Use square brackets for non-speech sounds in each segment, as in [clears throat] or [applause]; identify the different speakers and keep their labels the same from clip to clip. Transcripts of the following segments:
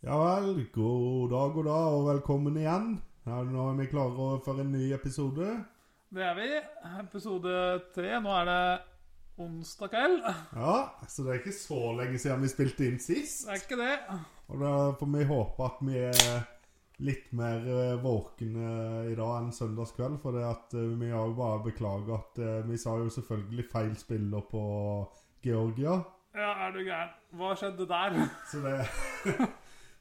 Speaker 1: Ja vel, god dag, god dag, og velkommen igjen. Ja, nå er vi klare for en ny episode.
Speaker 2: Det er vi. Episode tre. Nå er det onsdag kveld.
Speaker 1: Ja, så det er ikke så lenge siden vi spilte inn sist.
Speaker 2: Det er ikke det.
Speaker 1: Og da får vi håpe at vi er litt mer eh, våkne i dag enn søndagskveld, for det at eh, vi har jo bare beklaget at eh, vi sa jo selvfølgelig feil spiller på Georgia.
Speaker 2: Ja, er du gæren. Hva skjedde der?
Speaker 1: Så det... [laughs]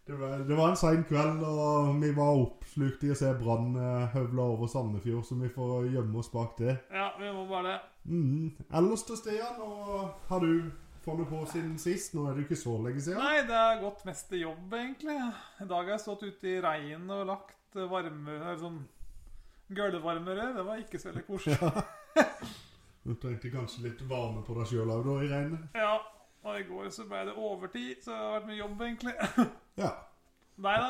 Speaker 1: Det var, det var en sen kveld, og vi var oppslukt i å se Brann eh, høvle over Sandefjord, så vi får gjemme oss bak det.
Speaker 2: Ja, vi må bare det.
Speaker 1: Mm. Ellers til Stian, og har du funnet på siden sist? Nå er det jo ikke så lenge siden.
Speaker 2: Nei, det har gått mest til jobb, egentlig. I dag har jeg stått ute i regnet og lagt varme, eller sånn gulvvarmere. Det var ikke så veldig koselig.
Speaker 1: Du trengte kanskje litt varme på deg sjøl òg, da, i regnet?
Speaker 2: Ja, og i går så ble det overtid, så det har vært mye jobb, egentlig.
Speaker 1: Ja.
Speaker 2: Nei da.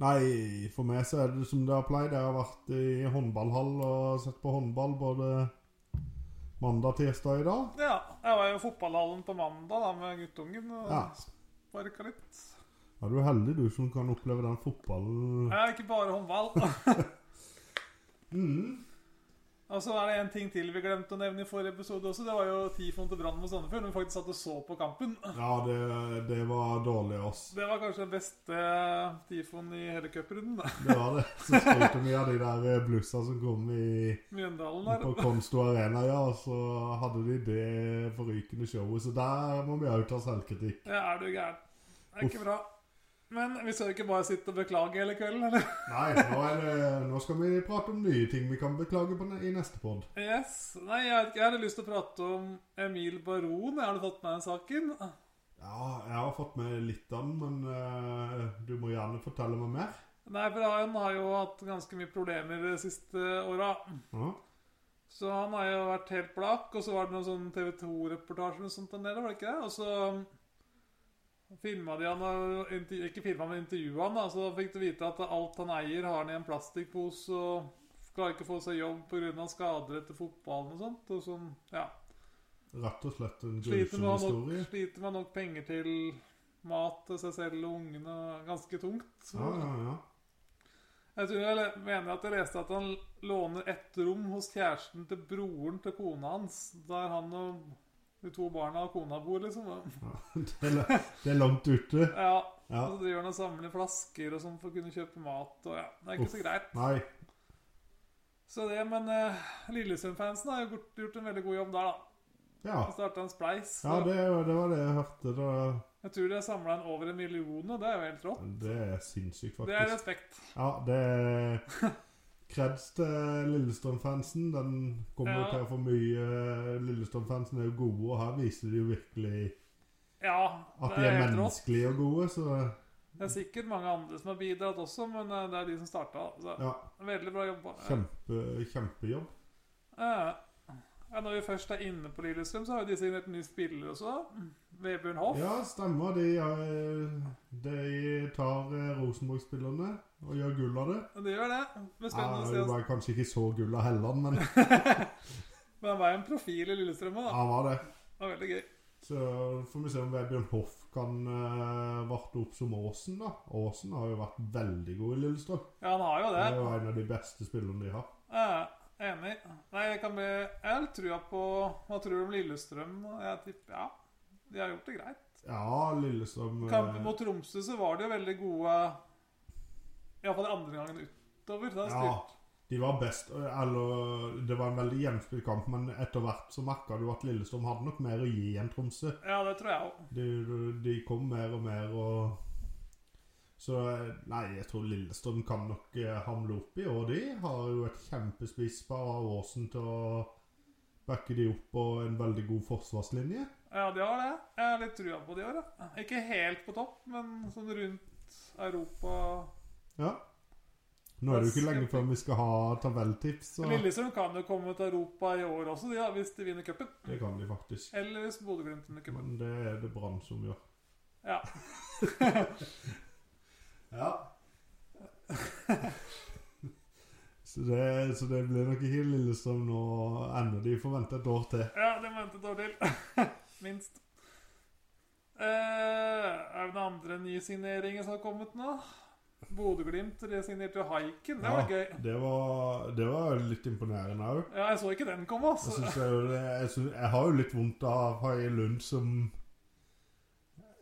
Speaker 1: Nei, for meg så er det som det har pleid. Jeg har vært i håndballhall og sett på håndball både mandag, tirsdag i dag.
Speaker 2: Ja, jeg var jo i fotballhallen på mandag da med guttungen og
Speaker 1: Ja.
Speaker 2: sparka litt.
Speaker 1: Ja, du er heldig, du, som kan oppleve den fotballen.
Speaker 2: Jeg er ikke bare håndball.
Speaker 1: Mm.
Speaker 2: Og så er det en ting til vi glemte å nevne i forrige episode også. Det var jo Tifon til Brann mot Sandefjord. Når vi faktisk satt og så på kampen.
Speaker 1: Ja, det, det var dårlig av oss.
Speaker 2: Det var kanskje den beste Tifon i hele cuprunden. da.
Speaker 1: Det var det. Så spilte vi av de der eh, blussa som kom i
Speaker 2: Mjøndalen der.
Speaker 1: På Konsto Arena, ja. Og så hadde de det forrykende showet, så der må vi òg ta selvkritikk.
Speaker 2: Ja, er du gæren. Det er ikke bra. Men vi skal jo ikke bare sitte og beklage hele kvelden, eller?
Speaker 1: Nei, nå, er det, nå skal vi prate om nye ting vi kan beklage på ne i neste pod.
Speaker 2: Yes. Nei, jeg, vet ikke. jeg hadde lyst til å prate om Emil Baron. Har du fått med den saken?
Speaker 1: Ja, jeg har fått med litt av den, men eh, du må gjerne fortelle meg mer.
Speaker 2: Nei, for han har jo hatt ganske mye problemer de siste åra.
Speaker 1: Ja.
Speaker 2: Så han har jo vært helt blakk, og så var det noen sånn TV 2-reportasje eller sånt der nede, var det ikke det? Og så filma de han, og intervju- ikke filma, men intervjua han, da, så da fikk du vite at alt han eier, har han i en plastikkpose, og klarer ikke å få seg jobb pga. skader etter fotballen og sånt, og sånn, ja.
Speaker 1: Rett og slett en
Speaker 2: Sliter
Speaker 1: grusom
Speaker 2: med, han nok,
Speaker 1: historie.
Speaker 2: sliter med nok penger til mat til seg selv og ungene, ganske tungt.
Speaker 1: Ja, ja, ja.
Speaker 2: Jeg tror jeg le- mener at jeg leste at han låner ett rom hos kjæresten til broren til kona hans. Der han og de to barna og kona bor, liksom.
Speaker 1: ja. [laughs] Det, er, la- det er langt ute.
Speaker 2: Ja,
Speaker 1: Ja.
Speaker 2: Og så driver han og samler flasker og sånn for å kunne kjøpe mat. og ja, Det er ikke så greit.
Speaker 1: Nei.
Speaker 2: Så det, Men eh, Lillesund-fansen har jo gjort- gjort en veldig god jobb der, da.
Speaker 1: Ja.
Speaker 2: Og starta en spleis.
Speaker 1: Ja,
Speaker 2: så
Speaker 1: det, det var det jeg hørte. Det,
Speaker 2: Jeg tror de har samla inn over en million, og det er jo helt rått.
Speaker 1: det er sinnssykt, faktisk.
Speaker 2: Det er respekt.
Speaker 1: Ja, det er
Speaker 2: [laughs]
Speaker 1: kreds til Lillestrøm-fansen. Den kommer jo
Speaker 2: Ja.
Speaker 1: til å få mye Lillestrøm-fansen er jo gode, og her viser de jo virkelig
Speaker 2: Ja,
Speaker 1: at
Speaker 2: det
Speaker 1: de
Speaker 2: er
Speaker 1: er
Speaker 2: helt rått.
Speaker 1: menneskelige og gode, så
Speaker 2: Det er sikkert mange andre som har bidratt også, men eh, det er de som starta. Så
Speaker 1: ja.
Speaker 2: veldig bra jobba.
Speaker 1: Kjempe, kjempejobb.
Speaker 2: Eh, Ja, når vi først er inne på Lillestrøm, så har jo de signert en ny spiller også. Vebjørn Hoff.
Speaker 1: Ja, stemmer. De, er- de tar eh, Rosenborg-spillerne og gjør gull av det.
Speaker 2: Det gjør det. Men
Speaker 1: Ja,
Speaker 2: spennende å
Speaker 1: det
Speaker 2: se. altså.
Speaker 1: var kanskje ikke så gull av Helland,
Speaker 2: [laughs]
Speaker 1: men
Speaker 2: Men han var jo en profil i Lillestrøm òg, da.
Speaker 1: han var det.
Speaker 2: Det var veldig gøy.
Speaker 1: Så får vi se om Vebjørn Hoff kan uh, varte opp som Aasen, da. Aasen har jo vært veldig god i Lillestrøm.
Speaker 2: Ja, han har jo
Speaker 1: Det er jo
Speaker 2: det.
Speaker 1: en av de beste spillerne de har.
Speaker 2: Eh, Enig. Nei, jeg kan bli Jeg har litt trua på Hva tror du om Lillestrøm? Jeg tipper Ja, de har gjort det greit.
Speaker 1: Ja, Lillestrøm eh,
Speaker 2: Kampen mot Tromsø så var de jo veldig gode Iallfall andre gangen utover. Da
Speaker 1: eh, Ja,
Speaker 2: styrt.
Speaker 1: de var best. eh, Eller Det var en veldig jevnspilt kamp, men etter hvert så merka du at Lillestrøm hadde nok mer å gi enn Tromsø.
Speaker 2: ja, det tror jeg òg.
Speaker 1: De, de kom mer og mer og Så eh, nei, jeg tror Lillestrøm kan nok eh, hamle opp i år, de. Har jo et kjempespisspar av Aasen til å backe de opp og en veldig god forsvarslinje.
Speaker 2: Ja, de har det. Jeg har litt trua på de i år. ja. Ikke helt på topp, men sånn rundt Europa.
Speaker 1: Ja. Nå er det jo ikke lenge før vi skal ha tabelltips, så
Speaker 2: Lillestrøm kan jo komme til Europa i år også, de, da, hvis de vinner cupen.
Speaker 1: det kan de faktisk.
Speaker 2: Eller hvis Bodø-Glimt vinner cupen.
Speaker 1: Men det er det Brann som gjør.
Speaker 2: Ja.
Speaker 1: [laughs] ja. [laughs] så, det, så det blir nok ikke Lillestrøm nå ennå. De får vente et år til.
Speaker 2: [laughs] ja, det må vente et år til. Minst. Eh, er det noen andre nysigneringer som har kommet nå? Bodø-Glimt resignerte jo Haiken. Det var
Speaker 1: Ja,
Speaker 2: gøy.
Speaker 1: det var, det var litt imponerende òg.
Speaker 2: Ja, jeg så ikke den komme,
Speaker 1: Jeg,
Speaker 2: altså.
Speaker 1: synes jeg, jo det- jeg, synes, jeg har jo litt vondt av Hai Lund som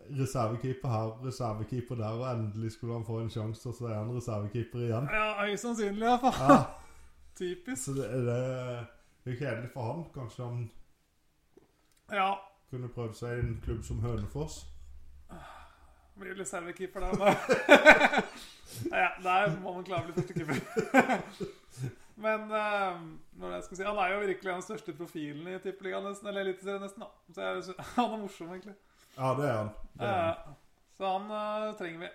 Speaker 1: reservekeeper her, reservekeeper der, og endelig skulle han få en sjanse, og så er han reservekeeper igjen.
Speaker 2: Ja, Høyst sannsynlig, i hvert fall.
Speaker 1: Ja,
Speaker 2: Typisk.
Speaker 1: så det, det, det er kjedelig for han. Kanskje han
Speaker 2: Ja.
Speaker 1: kunne prøvd seg i en klubb som Hønefoss.
Speaker 2: Blir vel reservekeeper der, da.
Speaker 1: [laughs]
Speaker 2: ja, der må man klare å bli førstekeeper. [laughs] Men eh, når det jeg skal si, han er jo virkelig den største profilen i Tippeligaen, nesten. Eller Eliteserien, nesten. da. Så jeg, synes- [laughs] han er morsom, egentlig.
Speaker 1: Ja, det er han. Det er, han.
Speaker 2: Eh, så han eh, trenger vi.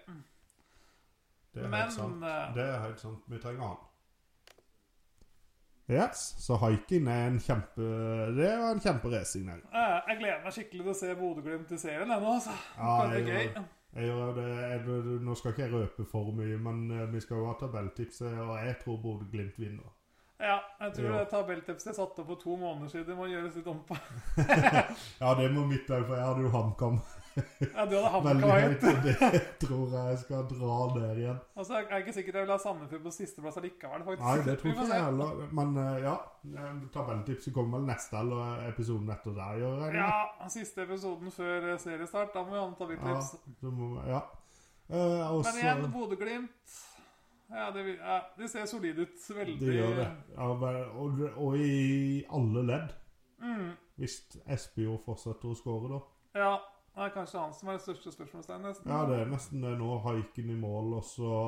Speaker 1: Det er
Speaker 2: Men
Speaker 1: helt sant.
Speaker 2: eh,
Speaker 1: Det er helt sant. Vi trenger han. Yes, så haiken er en kjempe... Det var en kjemperesignering.
Speaker 2: eh, jeg gleder meg skikkelig til å se Bodø-Glimt i serien ennå, altså.
Speaker 1: Ja,
Speaker 2: det
Speaker 1: jeg
Speaker 2: er
Speaker 1: gjør
Speaker 2: gøy.
Speaker 1: det. Jeg gjør jo det. Jeg, nå skal ikke jeg røpe for mye, men eh, vi skal jo ha tabelltipset, og jeg tror Bodø-Glimt vinner.
Speaker 2: Ja, jeg tror
Speaker 1: Ja.
Speaker 2: det tabelltipset jeg satte opp for to måneder siden, må gjøres litt om på. [laughs]
Speaker 1: Ja, det må mitt òg, for jeg hadde jo HamKam
Speaker 2: Ja,
Speaker 1: [laughs]
Speaker 2: du hadde
Speaker 1: veldig
Speaker 2: hamka
Speaker 1: høyt.
Speaker 2: høyt.
Speaker 1: og Det tror jeg jeg skal dra ned igjen.
Speaker 2: Altså, jeg er ikke sikkert jeg vil ha Sandefjord på sisteplass allikevel, faktisk.
Speaker 1: Nei, det
Speaker 2: Vi
Speaker 1: tror
Speaker 2: får
Speaker 1: ikke
Speaker 2: se.
Speaker 1: jeg heller. Men eh, ja, eh, tabelltipset kommer vel neste eller eh, episoden etter der, gjør jeg det?
Speaker 2: Ja, siste episoden før eh, seriestart. Da må vi ha en tabelltips.
Speaker 1: Så må, ja. Eh, og
Speaker 2: Men igjen,
Speaker 1: så
Speaker 2: Bodø-Glimt ja, det, vil- ja, de ser solide ut. Veldig
Speaker 1: De gjør det. Ja, vel, og, og i alle ledd.
Speaker 2: Mm,
Speaker 1: Hvis Espejord fortsetter å skåre, da.
Speaker 2: ja. Det er kanskje han som er det største spørsmålstegnet, nesten.
Speaker 1: Ja, det er nesten det nå. Haiken i mål, og så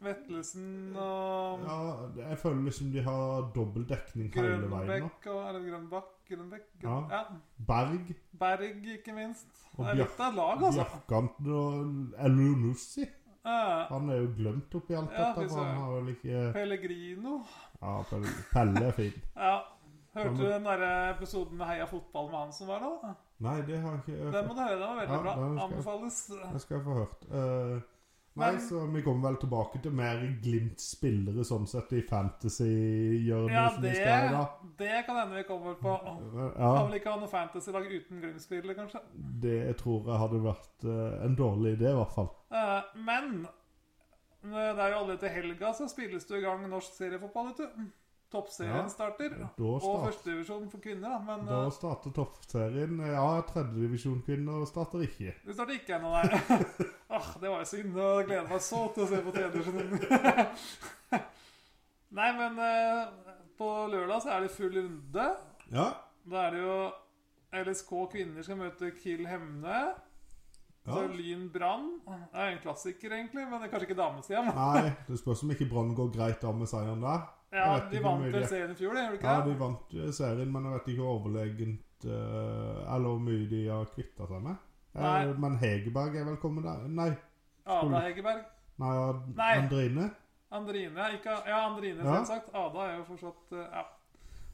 Speaker 2: Vettelsen og
Speaker 1: Ja, jeg føler liksom de har dobbel dekning hele veien. nå.
Speaker 2: Grønbekk og Er det Grønbakk? Grønbekk?
Speaker 1: Ja.
Speaker 2: Ja.
Speaker 1: Berg
Speaker 2: Berg, ikke minst.
Speaker 1: Og
Speaker 2: Det er litt av et lag, altså.
Speaker 1: Bjørkan og Elunussi.
Speaker 2: Ja.
Speaker 1: Han er jo glemt oppi alt
Speaker 2: Ja, fy
Speaker 1: dette. for
Speaker 2: søren.
Speaker 1: Han har vel ikke
Speaker 2: Pellegrino.
Speaker 1: Ja, Pelle, Pelle er fin.
Speaker 2: Ja. Hørte du den der episoden med Heia fotball med han som var da?
Speaker 1: Nei, det har jeg ikke
Speaker 2: Den må du høre. Den var veldig
Speaker 1: Ja,
Speaker 2: bra.
Speaker 1: den skal jeg-
Speaker 2: Anbefales.
Speaker 1: Det skal jeg få hørt. Eh, nei,
Speaker 2: Men-
Speaker 1: så vi kommer vel tilbake til mer Glimt-spillere sånn sett i fantasy-hjørnet
Speaker 2: Ja,
Speaker 1: som vi skal i
Speaker 2: det,
Speaker 1: dag.
Speaker 2: det kan hende vi kommer på. Kan
Speaker 1: Ja,
Speaker 2: vel ikke ha noe fantasy-lag uten Glimt-spillere, kanskje.
Speaker 1: det tror jeg hadde vært eh, en dårlig idé, i hvert fall.
Speaker 2: Eh, men det er jo allerede til helga så spilles det i gang norsk seriefotball, vet du. Toppserien
Speaker 1: Ja.
Speaker 2: starter.
Speaker 1: Da
Speaker 2: Og
Speaker 1: starter
Speaker 2: førstedivisjon for kvinner, da. Men
Speaker 1: Da
Speaker 2: eh,
Speaker 1: starter toppserien. Ja, tredjedivisjonskvinner starter ikke.
Speaker 2: det starter ikke
Speaker 1: [laughs]
Speaker 2: ennå, nei. ah, det var jo synd. og Jeg gleder meg så til å se på tredjedivisjonen. [laughs] nei, men eh, på lørdag så er det full runde.
Speaker 1: Ja.
Speaker 2: Da er det jo LSK kvinner skal møte Kiel Hemne. Så Lyn Brann Det er en klassiker, egentlig, men det er kanskje ikke damesida. men-
Speaker 1: Nei, det spørs om ikke Brann går greit av med seieren der.
Speaker 2: Ja,
Speaker 1: Jeg vet
Speaker 2: de
Speaker 1: ikke
Speaker 2: vant
Speaker 1: hvor mye
Speaker 2: vel
Speaker 1: de-
Speaker 2: serien i fjor, det, gjorde de
Speaker 1: Ja,
Speaker 2: ikke
Speaker 1: de
Speaker 2: det?
Speaker 1: vant eh, serien, men jeg vet ikke overlegent eh, Eller hvor mye de har kvitta seg med. Eh,
Speaker 2: Nei.
Speaker 1: Men Hegerberg er vel kommet der? Nei.
Speaker 2: Ada Hegerberg.
Speaker 1: Nei,
Speaker 2: Nei. Mm.
Speaker 1: Andrine?
Speaker 2: Andrine ja, ikke, Ja, Andrine,
Speaker 1: Ja.
Speaker 2: selvsagt. Ada er jo fortsatt eh, Ja.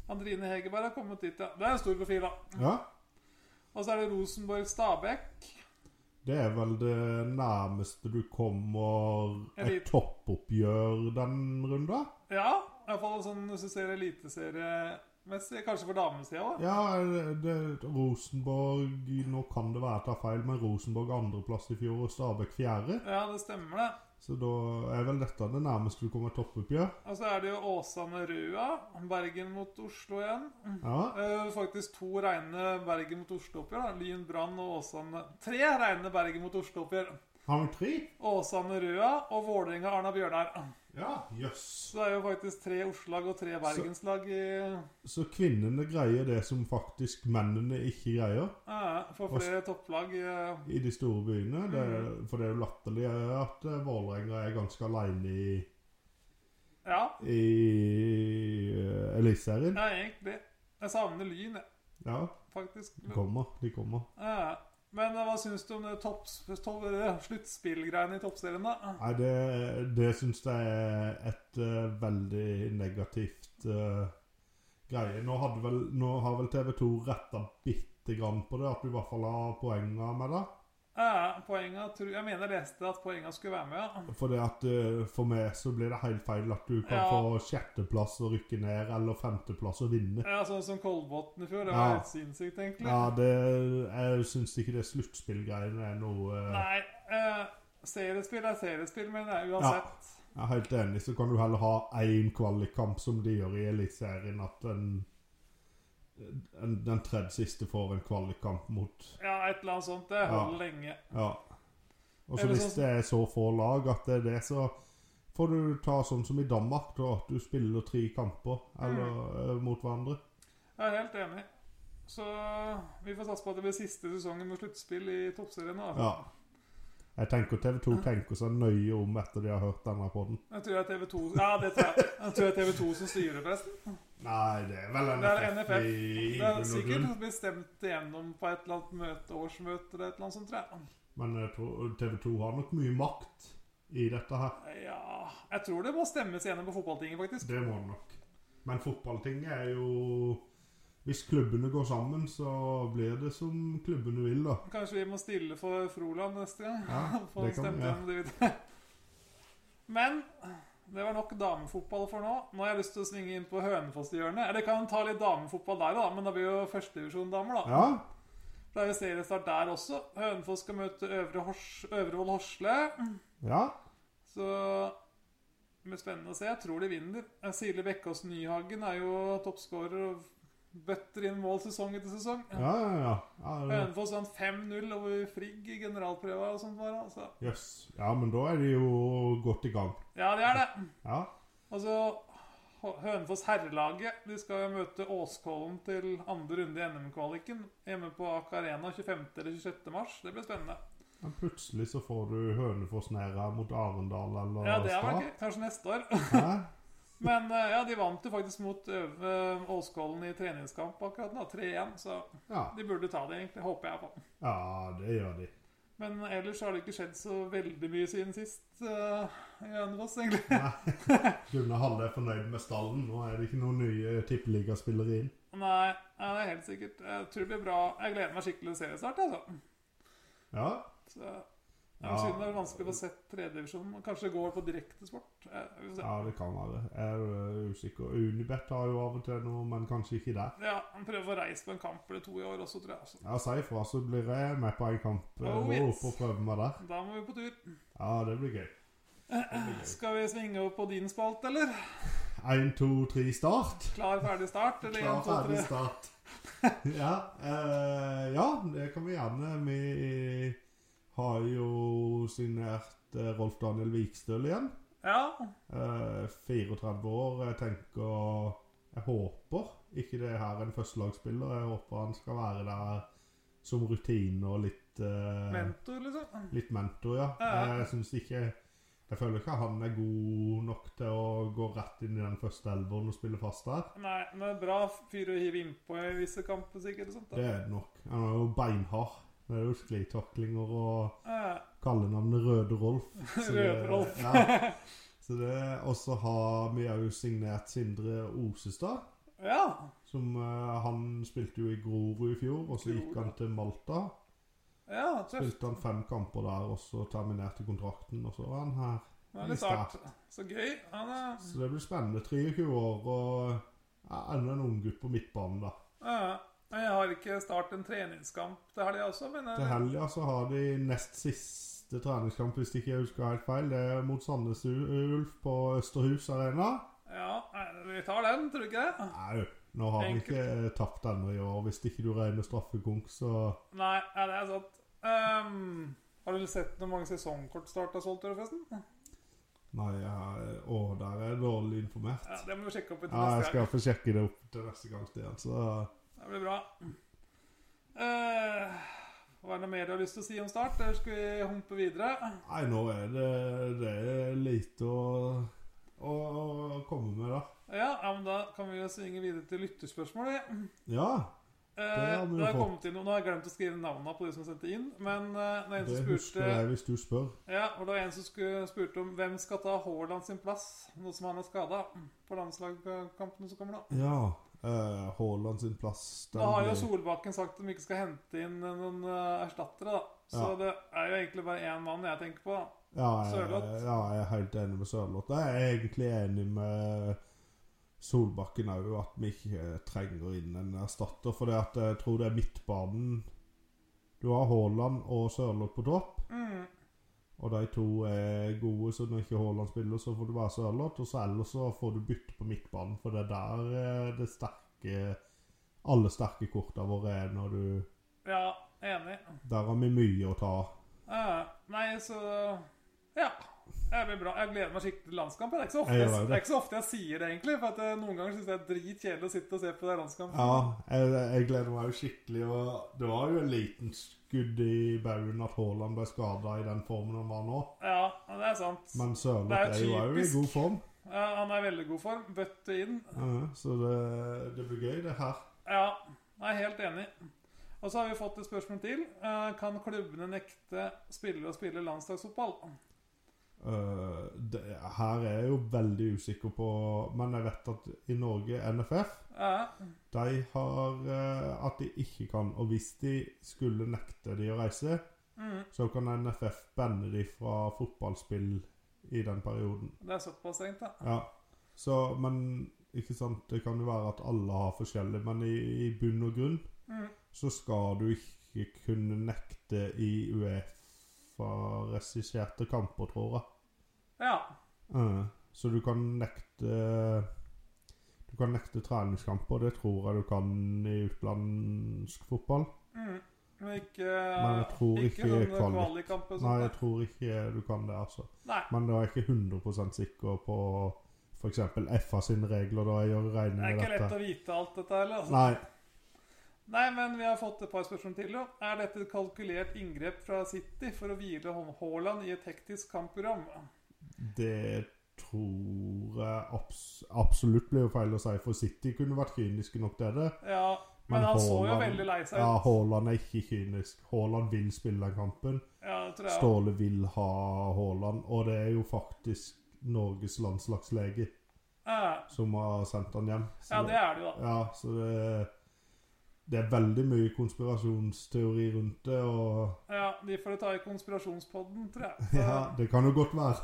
Speaker 2: Andrine Hegerberg har kommet dit, ja. Det er en stor profil, da.
Speaker 1: Ja.
Speaker 2: Og så er det Rosenborg-Stabæk.
Speaker 1: Det er vel det nærmeste du kommer
Speaker 2: Elit-
Speaker 1: et toppoppgjør den runda?
Speaker 2: Ja, i hvert fall sånn hvis du ser eliteseriemessig. Kanskje for damesida òg.
Speaker 1: Ja, eh, det, Rosenborg Nå kan det være jeg tar feil, men Rosenborg andreplass i fjor og Stabæk fjerde.
Speaker 2: Ja, det stemmer, det.
Speaker 1: Så da er vel dette det nærmeste du kommer et toppoppgjør.
Speaker 2: Og så er det jo Åsane Røa. Bergen mot Oslo igjen.
Speaker 1: Ja.
Speaker 2: Eh, faktisk to reine Bergen mot Oslo-oppgjør. da. Lyn, Brann og Åsane. Tre reine Bergen mot Oslo-oppgjør.
Speaker 1: Har vi tre?
Speaker 2: Åsane Røa og Vålerenga Arna Bjørnar.
Speaker 1: Ja, jøss.
Speaker 2: Så det er jo faktisk tre Oslo-lag og tre Bergenslag i
Speaker 1: Så kvinnene greier det som faktisk mennene ikke greier
Speaker 2: eh, For flere topplag. eh.
Speaker 1: i de store byene. Det, for det er jo latterlig at eh, Vålerenga er ganske aleine i,
Speaker 2: ja,
Speaker 1: i eh, Eliteserien.
Speaker 2: ja, egentlig. Jeg savner Lyn, jeg,
Speaker 1: Ja,
Speaker 2: faktisk.
Speaker 1: de kommer. De kommer.
Speaker 2: Eh, men eh, hva syns du om det topps- topp, eh, sluttspillgreiene i toppserien, da?
Speaker 1: Nei, det, det syns jeg er et eh, veldig negativt eh, greie. Nå, hadde vel, nå har vel TV2 retta bitte grann på det, at du i hvert fall har poenger med det.
Speaker 2: Eh, poenget, tror- jeg mener jeg leste at poenga skulle være med, ja.
Speaker 1: For, det at, eh, for meg så blir det helt feil at du kan
Speaker 2: Ja.
Speaker 1: få sjetteplass og rykke ned, eller femteplass og vinne.
Speaker 2: ja sånn som Kolbotn i fjor. Det
Speaker 1: Ja.
Speaker 2: var helt sinnssykt, egentlig.
Speaker 1: Ja, det, jeg syns ikke det sluttspillgreiene er noe eh,
Speaker 2: Nei, eh, seriespill er seriespill, men eh, uansett.
Speaker 1: Jeg er helt enig, så kan du heller ha én kvalikkamp som de gjør i Eliteserien, at en, en, den tredje siste får en kvalikkamp mot
Speaker 2: Ja. et eller annet sånt. Det
Speaker 1: Ja.
Speaker 2: holder lenge.
Speaker 1: Ja. Og så
Speaker 2: Eller
Speaker 1: hvis
Speaker 2: sånn-
Speaker 1: det er så få lag at det er det, så får du ta sånn som i Danmark, da, at du spiller tre kamper
Speaker 2: Mm.
Speaker 1: eller, eh, mot hverandre.
Speaker 2: Jeg er helt enig. Så vi får satse på at det blir siste sesongen med sluttspill i toppserien. da.
Speaker 1: Ja. Jeg tenker TV2 tenker seg nøye om etter de har hørt denne podden.
Speaker 2: Jeg tror det er TV2 Ja, det tror jeg. Jeg tror det er TV2 som styrer, forresten.
Speaker 1: Nei, det er vel
Speaker 2: Det er NFF.
Speaker 1: i i
Speaker 2: Det
Speaker 1: bunn
Speaker 2: er
Speaker 1: og grunn.
Speaker 2: sikkert bestemt igjennom på et eller annet møte, årsmøte eller et eller annet sånt, tror jeg.
Speaker 1: Men jeg tror TV2 har nok mye makt i dette her.
Speaker 2: Ja Jeg tror det må stemmes igjennom på fotballtinget, faktisk.
Speaker 1: Det må det nok. Men fotballtinget er jo Hvis klubbene går sammen, så blir det som klubbene vil, da.
Speaker 2: Kanskje vi må stille for Froland neste gang?
Speaker 1: Ja,
Speaker 2: [laughs] Få
Speaker 1: det kan-
Speaker 2: stemt
Speaker 1: ja.
Speaker 2: igjennom det vi [laughs] Men det var nok damefotball for nå. Nå har jeg lyst til å svinge inn på Hønefoss-hjørnet. Eller kan ta litt damefotball der, da, men da blir jo førstedivisjon-damer, da.
Speaker 1: Ja,
Speaker 2: For Det er jo seriestart der også. Hønefoss skal møte Øvre Hors Øvrevoll Horsle.
Speaker 1: ja.
Speaker 2: Så det blir spennende å se. Jeg tror de vinner. Sile Bekkås Nyhagen er jo toppskårer og bøtter inn mål sesong etter sesong.
Speaker 1: Ja, ja, ja. ja. det-
Speaker 2: Hønefoss vant 5-0 sånn over Frigg i generalprøva og sånt. Bare, altså.
Speaker 1: Jøss. Ja, men da er de jo godt i gang.
Speaker 2: Ja, det er det.
Speaker 1: Ja.
Speaker 2: Og så H- Hønefoss herrelaget. De skal jo møte Åskollen til andre runde i NM-kvaliken. Hjemme på Aker Arena 25. eller 26. mars. Det blir spennende.
Speaker 1: Men plutselig så får du Hønefoss ned her mot Arendal eller
Speaker 2: Ja, det er vel
Speaker 1: Stad.
Speaker 2: ikke kanskje neste år. [laughs]
Speaker 1: Hæ?
Speaker 2: Men eh, ja, de vant jo faktisk mot Øve Åskollen i treningskamp akkurat nå. 3-1, så
Speaker 1: Ja.
Speaker 2: de burde ta det, egentlig. Håper jeg på.
Speaker 1: ja, det gjør de.
Speaker 2: Men ellers har det ikke skjedd så veldig mye siden sist eh, i Hønefoss, egentlig.
Speaker 1: Gunnar Halle er fornøyd med stallen. Nå er det ikke noen nye tippeligaspillere inn.
Speaker 2: Nei, ja, det er helt sikkert. Jeg tror det blir bra. Jeg gleder meg skikkelig til seriestart. Altså.
Speaker 1: Ja.
Speaker 2: Så, ja.
Speaker 1: Ja.
Speaker 2: Siden det er vanskelig å få sett tredjedivisjonen. Kanskje det går på direktesport. Eh, Vi får se.
Speaker 1: ja, det kan være. Jeg er eh, usikker. Unibet har jo av og til noe, men kanskje ikke der.
Speaker 2: Ja, prøve å reise på en kamp eller to i år også, tror jeg. Altså.
Speaker 1: Ja, si ifra, så blir jeg med på en kamp. Jeg
Speaker 2: Oh,
Speaker 1: må
Speaker 2: yes.
Speaker 1: opp og prøve meg der.
Speaker 2: Da må vi på tur.
Speaker 1: Ja, det blir gøy.
Speaker 2: Skal vi svinge over på din spalt, eller?
Speaker 1: Én, to, tre, start.
Speaker 2: Klar, ferdig start? Eller
Speaker 1: Klar,
Speaker 2: én, to,
Speaker 1: ferdig,
Speaker 2: tre?
Speaker 1: start. [laughs] ja, eh, ja, det kan vi gjerne. Vi har jo signert eh, Rolf Daniel Vikstøl igjen.
Speaker 2: Ja.
Speaker 1: Eh, 34 år. Jeg tenker Jeg håper ikke det her er en førstelagsspiller. Jeg håper han skal være der som rutine og litt eh,
Speaker 2: Mentor, liksom.
Speaker 1: Litt mentor, ja.
Speaker 2: Ja.
Speaker 1: Jeg syns ikke Jeg føler ikke han er god nok til å gå rett inn i den første elveren og spille fast der.
Speaker 2: Nei, men det er bra fyr å hive innpå i visse kamper, sikkert. og sånt da.
Speaker 1: Det er det nok. Han er jo beinhard. Det er jo sklitaklinger og
Speaker 2: Eh,
Speaker 1: kallenavnet Røde Rolf.
Speaker 2: [laughs]
Speaker 1: Så det-
Speaker 2: Røde Rolf.
Speaker 1: Ja. Så det, og så har vi òg signert Sindre Osestad.
Speaker 2: Ja.
Speaker 1: Som eh, Han spilte jo i Grorud i fjor, og så gikk
Speaker 2: Grorud.
Speaker 1: han til Malta.
Speaker 2: ja tøft.
Speaker 1: Spilte han fem kamper der, og så terminerte kontrakten, og så er han her.
Speaker 2: Det er litt start. Så gøy. Han er
Speaker 1: Så det blir spennende. 23 år og ja, enda en unggutt på midtbanen, da.
Speaker 2: Ja, jeg har ikke start en treningskamp til helga også, men
Speaker 1: Til helga så har de nest siste treningskamp, hvis ikke jeg husker helt feil. Det er mot Sandnes Ulf på Østerhus Arena.
Speaker 2: ja, nei, vi tar den, tror du ikke det?
Speaker 1: Nei, nå har vi
Speaker 2: Enkelt.
Speaker 1: ikke eh, tapt ennå i år. Hvis ikke du regner straffekonk, så
Speaker 2: Nei, ja, det er sant. Ehm, har du sett hvor mange sesongkortstart har solgt i år, forresten?
Speaker 1: Nei, jeg, å, der er jeg dårlig informert.
Speaker 2: Ja, det må vi sjekke opp etter
Speaker 1: Ja, jeg
Speaker 2: neste gang.
Speaker 1: skal få sjekke det opp til neste gang. Stian, Så
Speaker 2: Det blir bra. Eh, var det noe mer du har lyst til å si om start, eller skal vi humpe videre?
Speaker 1: Nei, nå er det, det er lite å, å, å komme med, da.
Speaker 2: Ja, ja, men da kan vi jo svinge videre til lytterspørsmål, vi.
Speaker 1: Ja.
Speaker 2: Eh,
Speaker 1: har vi jo
Speaker 2: det har
Speaker 1: fått.
Speaker 2: kommet inn noen, Nå har jeg glemt å skrive navnene på de som sendte inn, men eh, det er en
Speaker 1: Det
Speaker 2: som
Speaker 1: husker
Speaker 2: spurte
Speaker 1: jeg hvis du spør.
Speaker 2: Ja, og det var en som skulle, spurte om hvem skal ta Haaland sin plass, nå som han er skada, på landslagskampene som kommer nå.
Speaker 1: Ja. eh, Haaland sin plass den
Speaker 2: Nå har jo
Speaker 1: ble-
Speaker 2: Solbakken sagt at de ikke skal hente inn noen eh, erstattere, da. Så
Speaker 1: Ja.
Speaker 2: det er jo egentlig bare én mann jeg tenker på. da.
Speaker 1: ja, jeg,
Speaker 2: Sørloth.
Speaker 1: ja, jeg er helt enig med Sørloth. Jeg er egentlig enig med Solbakken òg, at vi ikke eh, trenger inn en erstatter. For jeg tror det er midtbanen Du har Haaland og Sørloth på topp.
Speaker 2: Mm.
Speaker 1: Og de to er gode, så når ikke Haaland spiller, så får det være Sørloth. Og så ellers så får du bytte på midtbanen, for det er der eh, det sterke Alle sterke korta våre er når du
Speaker 2: Ja, enig.
Speaker 1: Der har vi mye å ta.
Speaker 2: Eh, nei, så Ja. Det blir bra. Jeg gleder meg skikkelig til landskamp. Det er ikke så ofte
Speaker 1: Jeg
Speaker 2: jeg,
Speaker 1: gjør det.
Speaker 2: det er ikke så ofte jeg sier det, egentlig. For at eh, Noen ganger syns jeg det er dritkjedelig å sitte og se på det landskamp.
Speaker 1: Ja, jeg, jeg gleder meg jo skikkelig. Og det var jo en liten skudd i baugen at Haaland ble skada i den formen han var nå.
Speaker 2: Ja, det er sant.
Speaker 1: Men
Speaker 2: Det er
Speaker 1: Sørloth er jo òg i
Speaker 2: typisk.
Speaker 1: god form.
Speaker 2: Ja, han er i veldig god form. Bøtte inn.
Speaker 1: Ja, så det, det blir gøy, det her.
Speaker 2: Ja, jeg er helt enig. Og så har vi fått et spørsmål til. Eh, Kan klubbene nekte spillere å spille landslagsfotball?
Speaker 1: Øh, det, her er jeg jo veldig usikker på Men jeg vet at i Norge, NFF
Speaker 2: Ja,
Speaker 1: De har eh, at de ikke kan. Og hvis de skulle nekte de å reise,
Speaker 2: mm,
Speaker 1: så kan NFF banne de fra fotballspill i den perioden.
Speaker 2: det er såpass strengt, da.
Speaker 1: Ja. Så, men ikke sant, det kan jo være at alle har forskjellig, men i, i bunn og grunn
Speaker 2: Mm.
Speaker 1: så skal du ikke kunne nekte i Uefa-regisserte kamper, tror jeg.
Speaker 2: Ja.
Speaker 1: Eh, Så du kan nekte Du kan nekte treningskamper, det tror jeg du kan i utenlandsk fotball.
Speaker 2: Mm. Men ikke,
Speaker 1: Men jeg tror ikke
Speaker 2: sånne
Speaker 1: kvalik.
Speaker 2: kvalikkamp og
Speaker 1: Nei, jeg
Speaker 2: sånt.
Speaker 1: tror ikke du kan det, altså.
Speaker 2: Nei.
Speaker 1: Men da er jeg ikke 100 sikker på f.eks. FA sine regler, da jeg gjør regning
Speaker 2: Det er
Speaker 1: med
Speaker 2: ikke lett
Speaker 1: dette.
Speaker 2: å vite alt dette heller. Altså.
Speaker 1: Nei.
Speaker 2: Nei, men vi har fått et par spørsmål til. jo. Er dette et kalkulert inngrep fra City for å hvile Hå- Haaland i et hektisk kampprogram?
Speaker 1: Det tror jeg abs absolutt blir jo feil å si, for City kunne vært kyniske nok til det.
Speaker 2: Ja, men,
Speaker 1: Men
Speaker 2: han så jo
Speaker 1: Haaland-
Speaker 2: veldig lei seg
Speaker 1: Ja,
Speaker 2: ut.
Speaker 1: Haaland er ikke kynisk. Haaland vil spille den kampen.
Speaker 2: Ja, det tror jeg. også.
Speaker 1: Ståle vil ha Haaland, og det er jo faktisk Norges landslagslege
Speaker 2: Ja,
Speaker 1: som har sendt han hjem. Så
Speaker 2: ja, det er det jo, da.
Speaker 1: ja, så det, det er veldig mye konspirasjonsteori rundt det, og [laughs]
Speaker 2: Ja, De får ta i konspirasjonspodden, tror jeg. Så,
Speaker 1: ja, det kan jo godt
Speaker 2: [laughs]
Speaker 1: være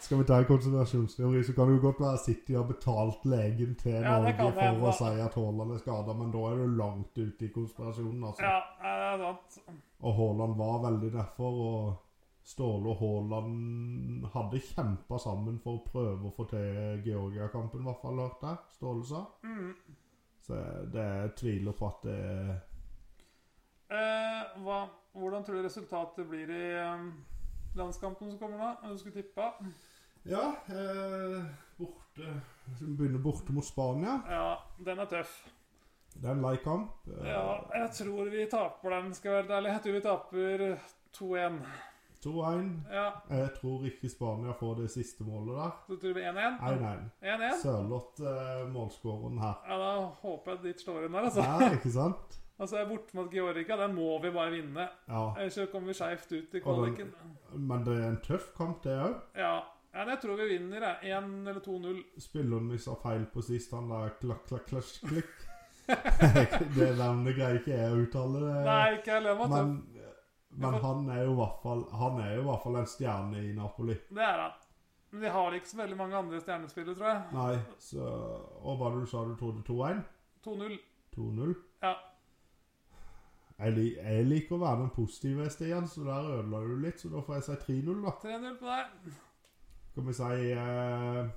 Speaker 1: Skal vi ta en konspirasjonsteori, så kan det jo godt være City har betalt legen til
Speaker 2: Ja, det
Speaker 1: Norge
Speaker 2: kan det
Speaker 1: for å
Speaker 2: hende.
Speaker 1: si at Haaland er skada, men da er du langt ute i konspirasjonen, altså.
Speaker 2: ja, ja, det er sant.
Speaker 1: Og Haaland var veldig derfor, og Ståle og Haaland hadde kjempa sammen for å prøve å få til Georgia-kampen, i hvert fall, hørte jeg Ståle sa.
Speaker 2: Mm.
Speaker 1: Så jeg- det jeg tviler på at det er
Speaker 2: Eh, hva, hvordan tror du resultatet blir i eh, landskampen som kommer nå? Om du skulle tippa?
Speaker 1: Ja, eh, borte Begynner borte mot Spania.
Speaker 2: Ja, den er tøff.
Speaker 1: Det er en lei kamp. Eh,
Speaker 2: Ja, jeg tror vi taper den, skal jeg være helt ærlig. Jeg tror vi taper 2-1.
Speaker 1: 2-1.
Speaker 2: Ja,
Speaker 1: Jeg tror ikke Spania får det siste målet der.
Speaker 2: så tror vi 1-1.
Speaker 1: 1-1.
Speaker 2: 1-1?
Speaker 1: Sørloth eh, målskåreren her.
Speaker 2: Ja, da håper jeg ditt slår inn der, altså.
Speaker 1: Ja, ikke sant?
Speaker 2: Altså, jeg er borte mot Georgia. Den må vi bare vinne.
Speaker 1: Ja.
Speaker 2: Ellers så kommer vi skeivt ut i
Speaker 1: Og den-
Speaker 2: kvaliken.
Speaker 1: Men det er en tøff kamp, det òg.
Speaker 2: Ja. ja, det tror vi vinner, jeg. 1 eller 2-0.
Speaker 1: Spilleren min sa feil på sist, han der klakk, klakk, klakk, klikk. det navnet greier ikke jeg å uttale. det.
Speaker 2: Nei, ikke jeg lever
Speaker 1: men,
Speaker 2: meg
Speaker 1: men han er jo i hvert fall Han er jo i hvert fall en stjerne i Napoli.
Speaker 2: Det er han. Men de har ikke så veldig mange andre stjernespillere, tror jeg.
Speaker 1: Nei, så Og hva var det du sa du trodde? 2-1?
Speaker 2: 2-0.
Speaker 1: 2-0?
Speaker 2: Ja.
Speaker 1: Jeg, lik- jeg liker å være den positive, Stian, så der ødela du litt. Så da får jeg si 3-0, da.
Speaker 2: 3-0 på deg.
Speaker 1: Skal vi si eh,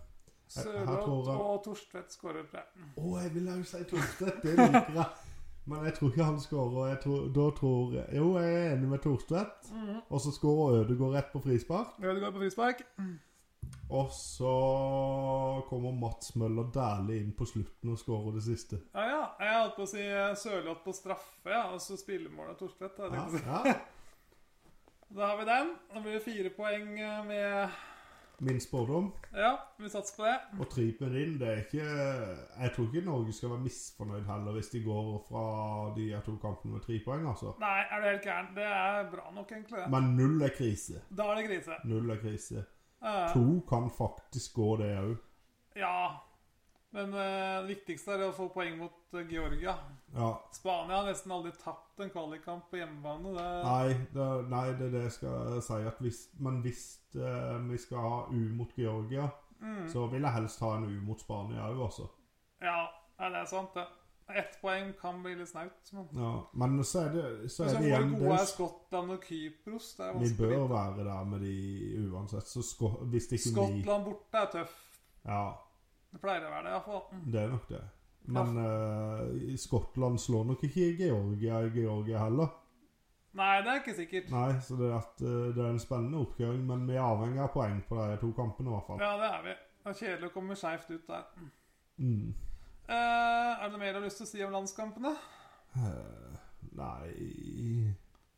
Speaker 1: Her- her tror
Speaker 2: Sørloth
Speaker 1: jeg-
Speaker 2: og Torstvedt skårer, tror jeg.
Speaker 1: Å, jeg vil jo si Torstvedt. Det liker jeg. Men jeg tror ikke han skårer. Jeg tror, da tror jeg Jo, jeg er enig med Torstvedt. Og så skårer Ødegaard rett på frispark.
Speaker 2: Ødegaard på frispark.
Speaker 1: Og så kommer Mats Møller Dæhlie inn på slutten og skårer det siste.
Speaker 2: Ja, ja. Jeg holdt på å si eh, Sørloth på straffe, ja. og så spillemålet av Torstvedt. Da,
Speaker 1: Ja,
Speaker 2: tenkte jeg
Speaker 1: ja.
Speaker 2: å si. da har vi den. Da blir det fire poeng eh, med
Speaker 1: Min spådom.
Speaker 2: Ja, vi satser på det.
Speaker 1: Og tripen inn, det er ikke Jeg tror ikke Norge skal være misfornøyd heller hvis de går fra de her to kampene med tre poeng, altså.
Speaker 2: Nei, er du helt gæren? Det er bra nok, egentlig. det.
Speaker 1: Men null er krise.
Speaker 2: Da er det krise.
Speaker 1: Null er krise.
Speaker 2: Eh,
Speaker 1: To kan faktisk gå, det òg.
Speaker 2: ja. Men eh, det viktigste er å få poeng mot eh, Georgia.
Speaker 1: Ja.
Speaker 2: Spania har nesten aldri tapt en kvalikkamp på hjemmebane. Det,
Speaker 1: Nei, det, nei, det er det jeg skal si. At hvis, men hvis eh, vi skal ha U mot Georgia,
Speaker 2: mm,
Speaker 1: så vil jeg helst ha en U mot Spania òg, altså.
Speaker 2: ja, nei, det er sant, det. Ett poeng kan bli litt snaut. Men
Speaker 1: Ja. Men så er det, så
Speaker 2: Men
Speaker 1: er det
Speaker 2: så hvor
Speaker 1: igjen det
Speaker 2: gode er Skottland og Kypros? Det er
Speaker 1: Vi
Speaker 2: vanskelig.
Speaker 1: bør være der med de uansett. Så sko, hvis det ikke vi
Speaker 2: Skottland borte er tøff.
Speaker 1: Ja,
Speaker 2: Det pleier å være det, iallfall.
Speaker 1: det er nok det. Men eh, Skottland slår nok ikke Georgia i Georgia heller.
Speaker 2: Nei, det er ikke sikkert.
Speaker 1: Nei, så det er, at, eh, det er en spennende oppkjøring, men vi er avhengig av poeng på de to kampene i hvert fall.
Speaker 2: Ja, det er vi. Det er kjedelig å komme skeivt ut der.
Speaker 1: Mm.
Speaker 2: Eh, er det noe mer du har lyst til å si om landskampene?
Speaker 1: Eh, nei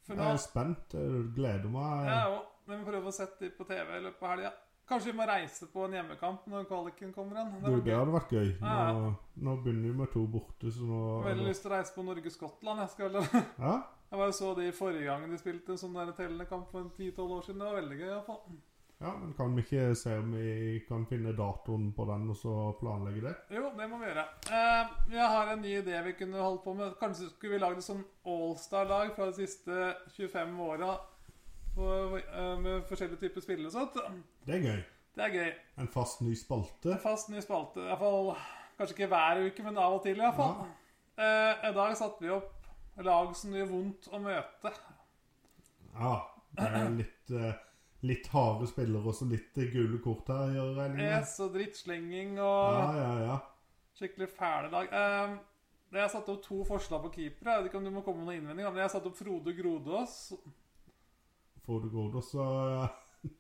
Speaker 2: For
Speaker 1: Jeg
Speaker 2: nå,
Speaker 1: er spent. Jeg gleder meg.
Speaker 2: ja, jo, men vi prøver å sette de på TV i løpet av helga. Kanskje vi må reise på en hjemmekamp når kvaliken kommer igjen.
Speaker 1: Du, det
Speaker 2: Jeg
Speaker 1: hadde vært gøy. Nå,
Speaker 2: Ja, ja.
Speaker 1: nå begynner vi med to borte, så nå
Speaker 2: har veldig lyst til å reise på Norge-Skottland. Jeg, skal vel-
Speaker 1: Ja?
Speaker 2: jeg bare så de forrige gangen de spilte en sånn der tellende kamp for en 10-12 år siden. Det var veldig gøy. i hvert fall.
Speaker 1: ja, men kan vi ikke se om vi kan finne datoen på den, og så planlegge det?
Speaker 2: Jo, det må vi gjøre. Eh, jeg har en ny idé vi kunne holdt på med. Kanskje skulle vi lagd et sånn allstar-lag fra de siste 25 åra for- eh, med forskjellige typer spillere og sånt.
Speaker 1: Det er gøy.
Speaker 2: Det er gøy.
Speaker 1: En fast ny spalte.
Speaker 2: Fast ny spalte. I hvert fall, kanskje ikke hver uke, men av og til i hvert fall. Eh, I dag satte vi opp lag som gjør vondt å møte.
Speaker 1: Ja, det er litt, eh, litt harde spillere og så litt eh, gule kort her, gjør jeg regning med.
Speaker 2: Es og drittslenging
Speaker 1: Ja,
Speaker 2: og
Speaker 1: ja, ja.
Speaker 2: skikkelig fæle lag. Eh, jeg har satt opp to forslag på keepere. Jeg vet ikke om du må komme med noen innvendinger, men jeg har satt opp Frode Grodås.
Speaker 1: Får du god, og så [laughs] eh,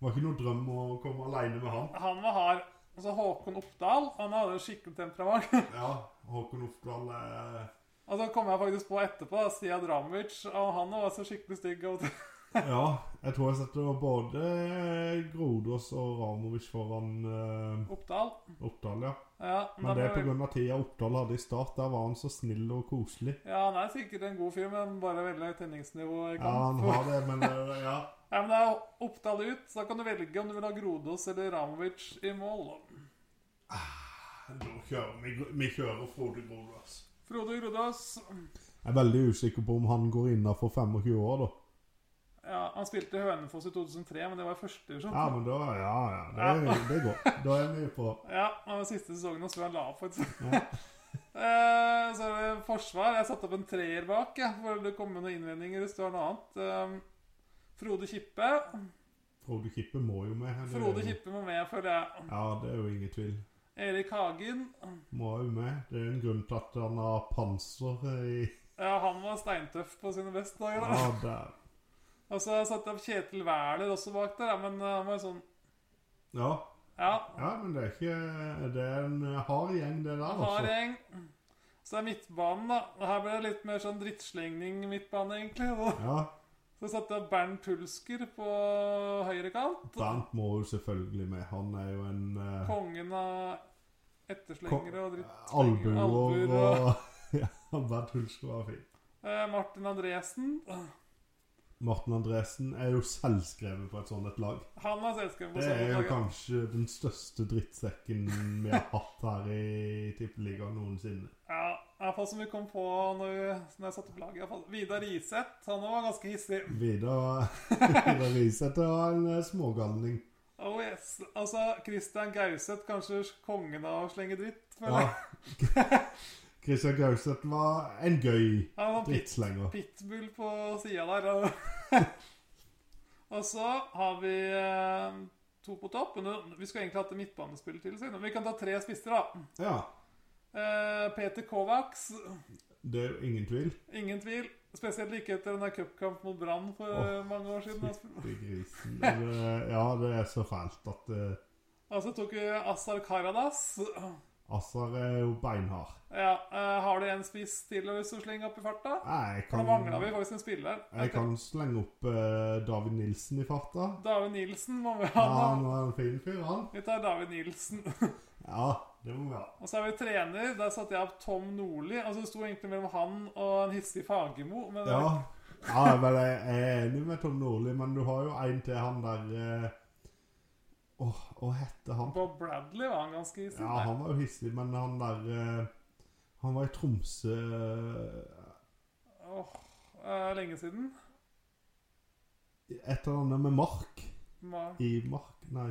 Speaker 1: var ikke noe drøm å komme alene med han.
Speaker 2: Han var hard. Og så Håkon Oppdal. Han hadde jo skikkelig temperament. [laughs]
Speaker 1: Ja, Håkon Oftdal eh,
Speaker 2: Og så kom jeg faktisk på etterpå Stia Dramovic, og han var så skikkelig stygg. av og [laughs] til.
Speaker 1: Ja, jeg tror jeg setter både Grodås og Ramovic foran eh,
Speaker 2: Oppdal.
Speaker 1: Oppdal, ja.
Speaker 2: Ja, men da
Speaker 1: Men det er
Speaker 2: ble vi-
Speaker 1: pga. tida Oppdal hadde i start. Der var han så snill og koselig.
Speaker 2: Ja, han er sikkert en god fyr, men bare veldig høyt tenningsnivå i
Speaker 1: Ja, han
Speaker 2: kamp. Ja,
Speaker 1: har det, men eh, ja.
Speaker 2: men det er Oppdal ut, så da kan du velge om du vil ha Grodås eller Ramovic i mål.
Speaker 1: Nå kjører vi, vi kjører Frode Grodås.
Speaker 2: Frode Grodås
Speaker 1: Jeg er veldig usikker på om han går innafor 25 år, da.
Speaker 2: ja, Han spilte i Hønefoss i 2003, men det var i første divisjon.
Speaker 1: Ja, men da Ja, ja. Det, det går. Da er vi på
Speaker 2: Ja, og den siste sesongen hans tror jeg han la opp, faktisk.
Speaker 1: Ja.
Speaker 2: [laughs] Eh, Så er det forsvar. Jeg satte opp en treer bak, jeg, for det kommer noen innvendinger hvis du har noe annet. Eh, Frode Kippe.
Speaker 1: Frode Kippe må jo med. her, det er
Speaker 2: Frode
Speaker 1: jo-
Speaker 2: Kippe må med, føler jeg.
Speaker 1: Ja, det er jo ingen tvil.
Speaker 2: Erik Hagen.
Speaker 1: Må jo med. Det er en grunn til at han har panser i
Speaker 2: Ja, han var steintøff på sine beste dager. da.
Speaker 1: Ja, der.
Speaker 2: Og så har jeg satt opp Kjetil Wæler også bak der, ja, men eh, han var jo sånn
Speaker 1: Ja.
Speaker 2: Ja,
Speaker 1: ja, men det er ikke Det er en eh, hard gjeng, det der,
Speaker 2: han har
Speaker 1: altså.
Speaker 2: gjeng. Så er midtbanen, da. Og Her ble det litt mer sånn drittslengning midtbane, egentlig. Da.
Speaker 1: Ja.
Speaker 2: Så satte jeg Bernt Tulsker på høyre kant.
Speaker 1: Bernt må jo selvfølgelig med. Han er jo en eh,
Speaker 2: Kongen av etterslengere og drittslengere.
Speaker 1: albuer
Speaker 2: Albuer og
Speaker 1: og [laughs] Ja, Bernt Hulsker var fin.
Speaker 2: eh, Martin Andresen.
Speaker 1: Martin Andresen er jo selvskrevet på et sånt et lag.
Speaker 2: Han har selskap på
Speaker 1: Det er
Speaker 2: sånne
Speaker 1: jo
Speaker 2: dager.
Speaker 1: kanskje den største drittsekken vi har hatt her i Tippeligaen noensinne.
Speaker 2: Ja, i hvert fall som vi kom på når, vi, når jeg satte opp laget. i hvert fall. Vidar Iseth, han var ganske hissig.
Speaker 1: Vidar [laughs] Vidar Riseth var en eh, smågalning.
Speaker 2: Oh yes. Altså, Christian Gauseth, kanskje kongen av å slenge dritt.
Speaker 1: Ja.
Speaker 2: føler jeg.
Speaker 1: Christian Gauseth var en gøy
Speaker 2: Han var pit,
Speaker 1: drittslenger.
Speaker 2: pitbull på sida der. Og, [laughs] og så har vi eh, to på topp. Men nå- vi skulle egentlig hatt en midtbanespiller til. Siden. Men vi kan ta tre spisser, da.
Speaker 1: Ja,
Speaker 2: Eh, Peter Kovacs,
Speaker 1: det er jo ingen tvil.
Speaker 2: ingen tvil. Spesielt like etter den der cupkamp mot Brann for
Speaker 1: Åh,
Speaker 2: mange år siden. altså.
Speaker 1: Fytti grisen. Det er- Ja, det er så fælt at eh,
Speaker 2: Og så altså tok vi Asar Karadas.
Speaker 1: Assar er jo beinhard.
Speaker 2: Ja, eh, har du en spiss til hvis du slenger opp i farta?
Speaker 1: Jeg
Speaker 2: For
Speaker 1: kan,
Speaker 2: Da mangla vi faktisk en spiller.
Speaker 1: jeg kan slenge opp eh, David Nilsen i farta.
Speaker 2: David Nilsen må vi
Speaker 1: Ja,
Speaker 2: ha. da.
Speaker 1: han var en fin fyr, han.
Speaker 2: Vi tar David Nilsen.
Speaker 1: Ja, det må vi ha.
Speaker 2: [laughs] Og så er vi trener. Der satte jeg opp Tom Nordli. Altså Det sto egentlig mellom han og en hissig Fagermo. Men
Speaker 1: Ja, ja men jeg er enig med Tom Nordli, men du har jo en til han der eh, Åh, hva heter han?
Speaker 2: Bob Bradley var han ganske hissig.
Speaker 1: Ja, han var jo hissig, men han der eh, Han var i Tromsø eh,
Speaker 2: Åh, eh, lenge siden.
Speaker 1: Et eller annet med Mark.
Speaker 2: Ma-
Speaker 1: I Mark Nei,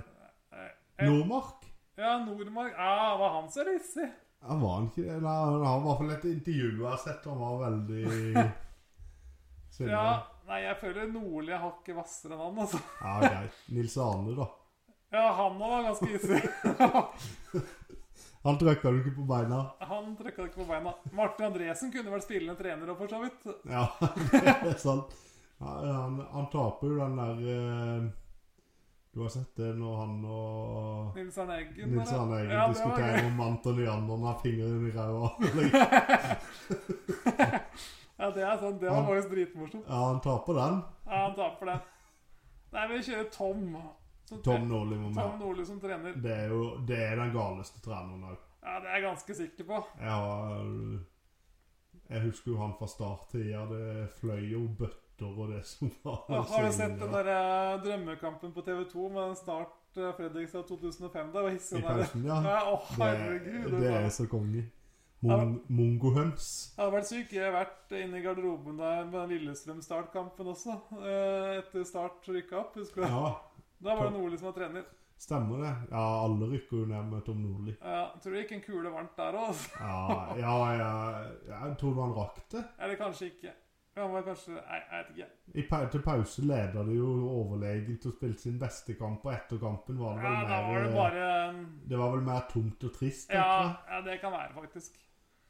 Speaker 2: eh,
Speaker 1: Nordmark?
Speaker 2: Ja, Nordmark. Ja, var han så hissig?
Speaker 1: Ja, var han ikke det? Nei, han har i hvert fall et intervju jeg har sett, han var
Speaker 2: [laughs]
Speaker 1: veldig Synd.
Speaker 2: Ja, nei, jeg føler Nordli er hakket hvassere enn han, altså.
Speaker 1: ja, greit. Nils Arne, da.
Speaker 2: Ja, han òg var ganske hissig.
Speaker 1: Han trøkka du ikke på beina?
Speaker 2: [laughs] han trykka ikke på beina. Martin Andresen kunne vært spillende trener òg, for så vidt.
Speaker 1: Ja, [laughs] det er sant. Ja, Han, han taper jo den der eh, Du har sett det når han og
Speaker 2: Nils Arne Eggen.
Speaker 1: Nils
Speaker 2: eller?
Speaker 1: Arne Eggen
Speaker 2: Ja, det var
Speaker 1: diskuterer
Speaker 2: gøy.
Speaker 1: om Anton Leander har fingeren i ræva. [laughs]
Speaker 2: Ja, det er sant. Det var faktisk dritmorsomt.
Speaker 1: Ja, han taper den.
Speaker 2: Ja, han taper den. Nei, vi kjører Tom. som tre-
Speaker 1: Tom Norli må
Speaker 2: Tom
Speaker 1: med.
Speaker 2: Nordli som trener.
Speaker 1: Det er jo det er den galeste treneren òg.
Speaker 2: Ja, det er jeg ganske sikker på.
Speaker 1: Jeg har Jeg husker jo han fra starttida. Det fløy jo bøtter og det som var.
Speaker 2: Ja, Har du sett den
Speaker 1: Ja.
Speaker 2: der eh, drømmekampen på TV2 med den start eh, Fredrikstad 2005? Det var hissig.
Speaker 1: I pausen, ja.
Speaker 2: Ja, å, herregud.
Speaker 1: Det, det er så konge. Mon,
Speaker 2: Ja.
Speaker 1: Mongohøns.
Speaker 2: Jeg hadde vært syk. Jeg har vært inne i garderoben der med den Lillestrøm-startkampen også. eh, Etter Start rykka opp, husker du?
Speaker 1: Ja,
Speaker 2: Da var det Nordli som var trener.
Speaker 1: stemmer det. Ja, alle rykker jo ned med Tom Nordli.
Speaker 2: Ja, tror det gikk en kule varmt der òg, altså.
Speaker 1: Ja, ja, ja, jeg tror han rakk det.
Speaker 2: [laughs] Eller kanskje ikke. Han var kanskje Nei, jeg vet ikke.
Speaker 1: I, pau- til pause leda de jo overlegent og spilte sin beste kamp, og etter kampen var det
Speaker 2: Ja,
Speaker 1: vel mer
Speaker 2: da
Speaker 1: eh,
Speaker 2: var det bare eh,
Speaker 1: Det var vel mer tomt og trist,
Speaker 2: ja,
Speaker 1: tenker jeg.
Speaker 2: ja, det kan være, faktisk.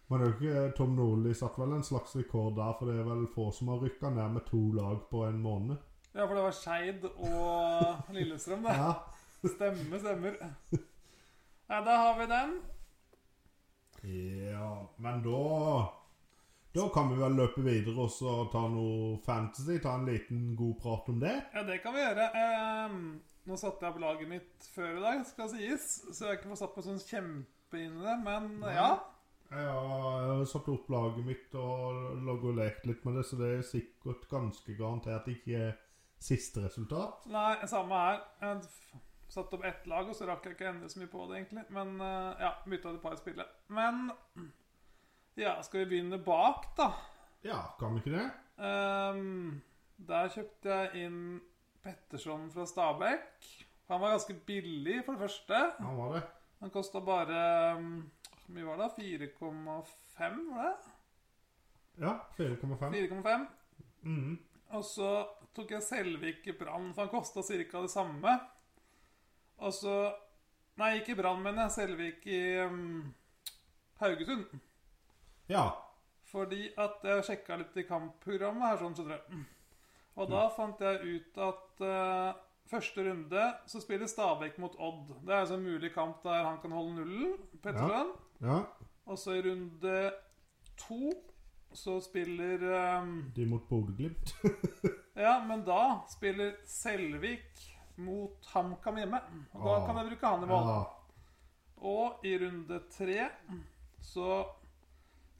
Speaker 1: Men det er jo ikke eh, Tom Nordli satt vel en slags rekord der, for det er vel få som har rykka ned med to lag på en måned.
Speaker 2: Ja, for det var Skeid og Lillestrøm, det.
Speaker 1: Ja,
Speaker 2: Stemmer, stemmer. Nei, da har vi den.
Speaker 1: ja men da Da kan vi vel løpe videre og så ta noe fantasy, ta en liten god prat om det.
Speaker 2: Ja, det kan vi gjøre. Ehm, nå satte jeg opp laget mitt før i dag, skal sies, så jeg har ikke fått satt meg sånn kjempe inn i det, men
Speaker 1: Nei.
Speaker 2: ja.
Speaker 1: Jeg har satt opp laget mitt og logget og lekt litt med det, så det er sikkert ganske garantert ikke siste resultat.
Speaker 2: Nei, samme her. Jeg f- satte opp ett lag, og så rakk jeg ikke å endre så mye på det, egentlig. Men eh, ja, bytta ut et par spillere. Men ja, skal vi begynne bak, da?
Speaker 1: Ja, kan vi ikke det?
Speaker 2: Ehm, der kjøpte jeg inn Petterson fra Stabæk. Han var ganske billig, for det første.
Speaker 1: Ja, var det.
Speaker 2: Han kosta bare um, Hvor mye var det? 4,5, var det?
Speaker 1: Ja, 4,5.
Speaker 2: 4,5.
Speaker 1: Mhm.
Speaker 2: Og så tok jeg Selvik i Brann, for han kosta ca. det samme. Og så Nei, ikke i Brann, mener jeg. Selvik i um, Haugesund.
Speaker 1: Ja.
Speaker 2: Fordi at jeg sjekka litt i kampprogrammet her, sånn, skjønner du. Og da fant jeg ut at eh, første runde så spiller Stabæk mot Odd. Det er altså en mulig kamp der han kan holde nullen. Petterson.
Speaker 1: ja.
Speaker 2: Og så i runde to så spiller ehm,
Speaker 1: De mot Bodø-Glimt.
Speaker 2: Ja, men da spiller Selvik mot HamKam hjemme. Og da
Speaker 1: Ah,
Speaker 2: kan jeg bruke han i mål.
Speaker 1: Ja.
Speaker 2: Og i runde tre så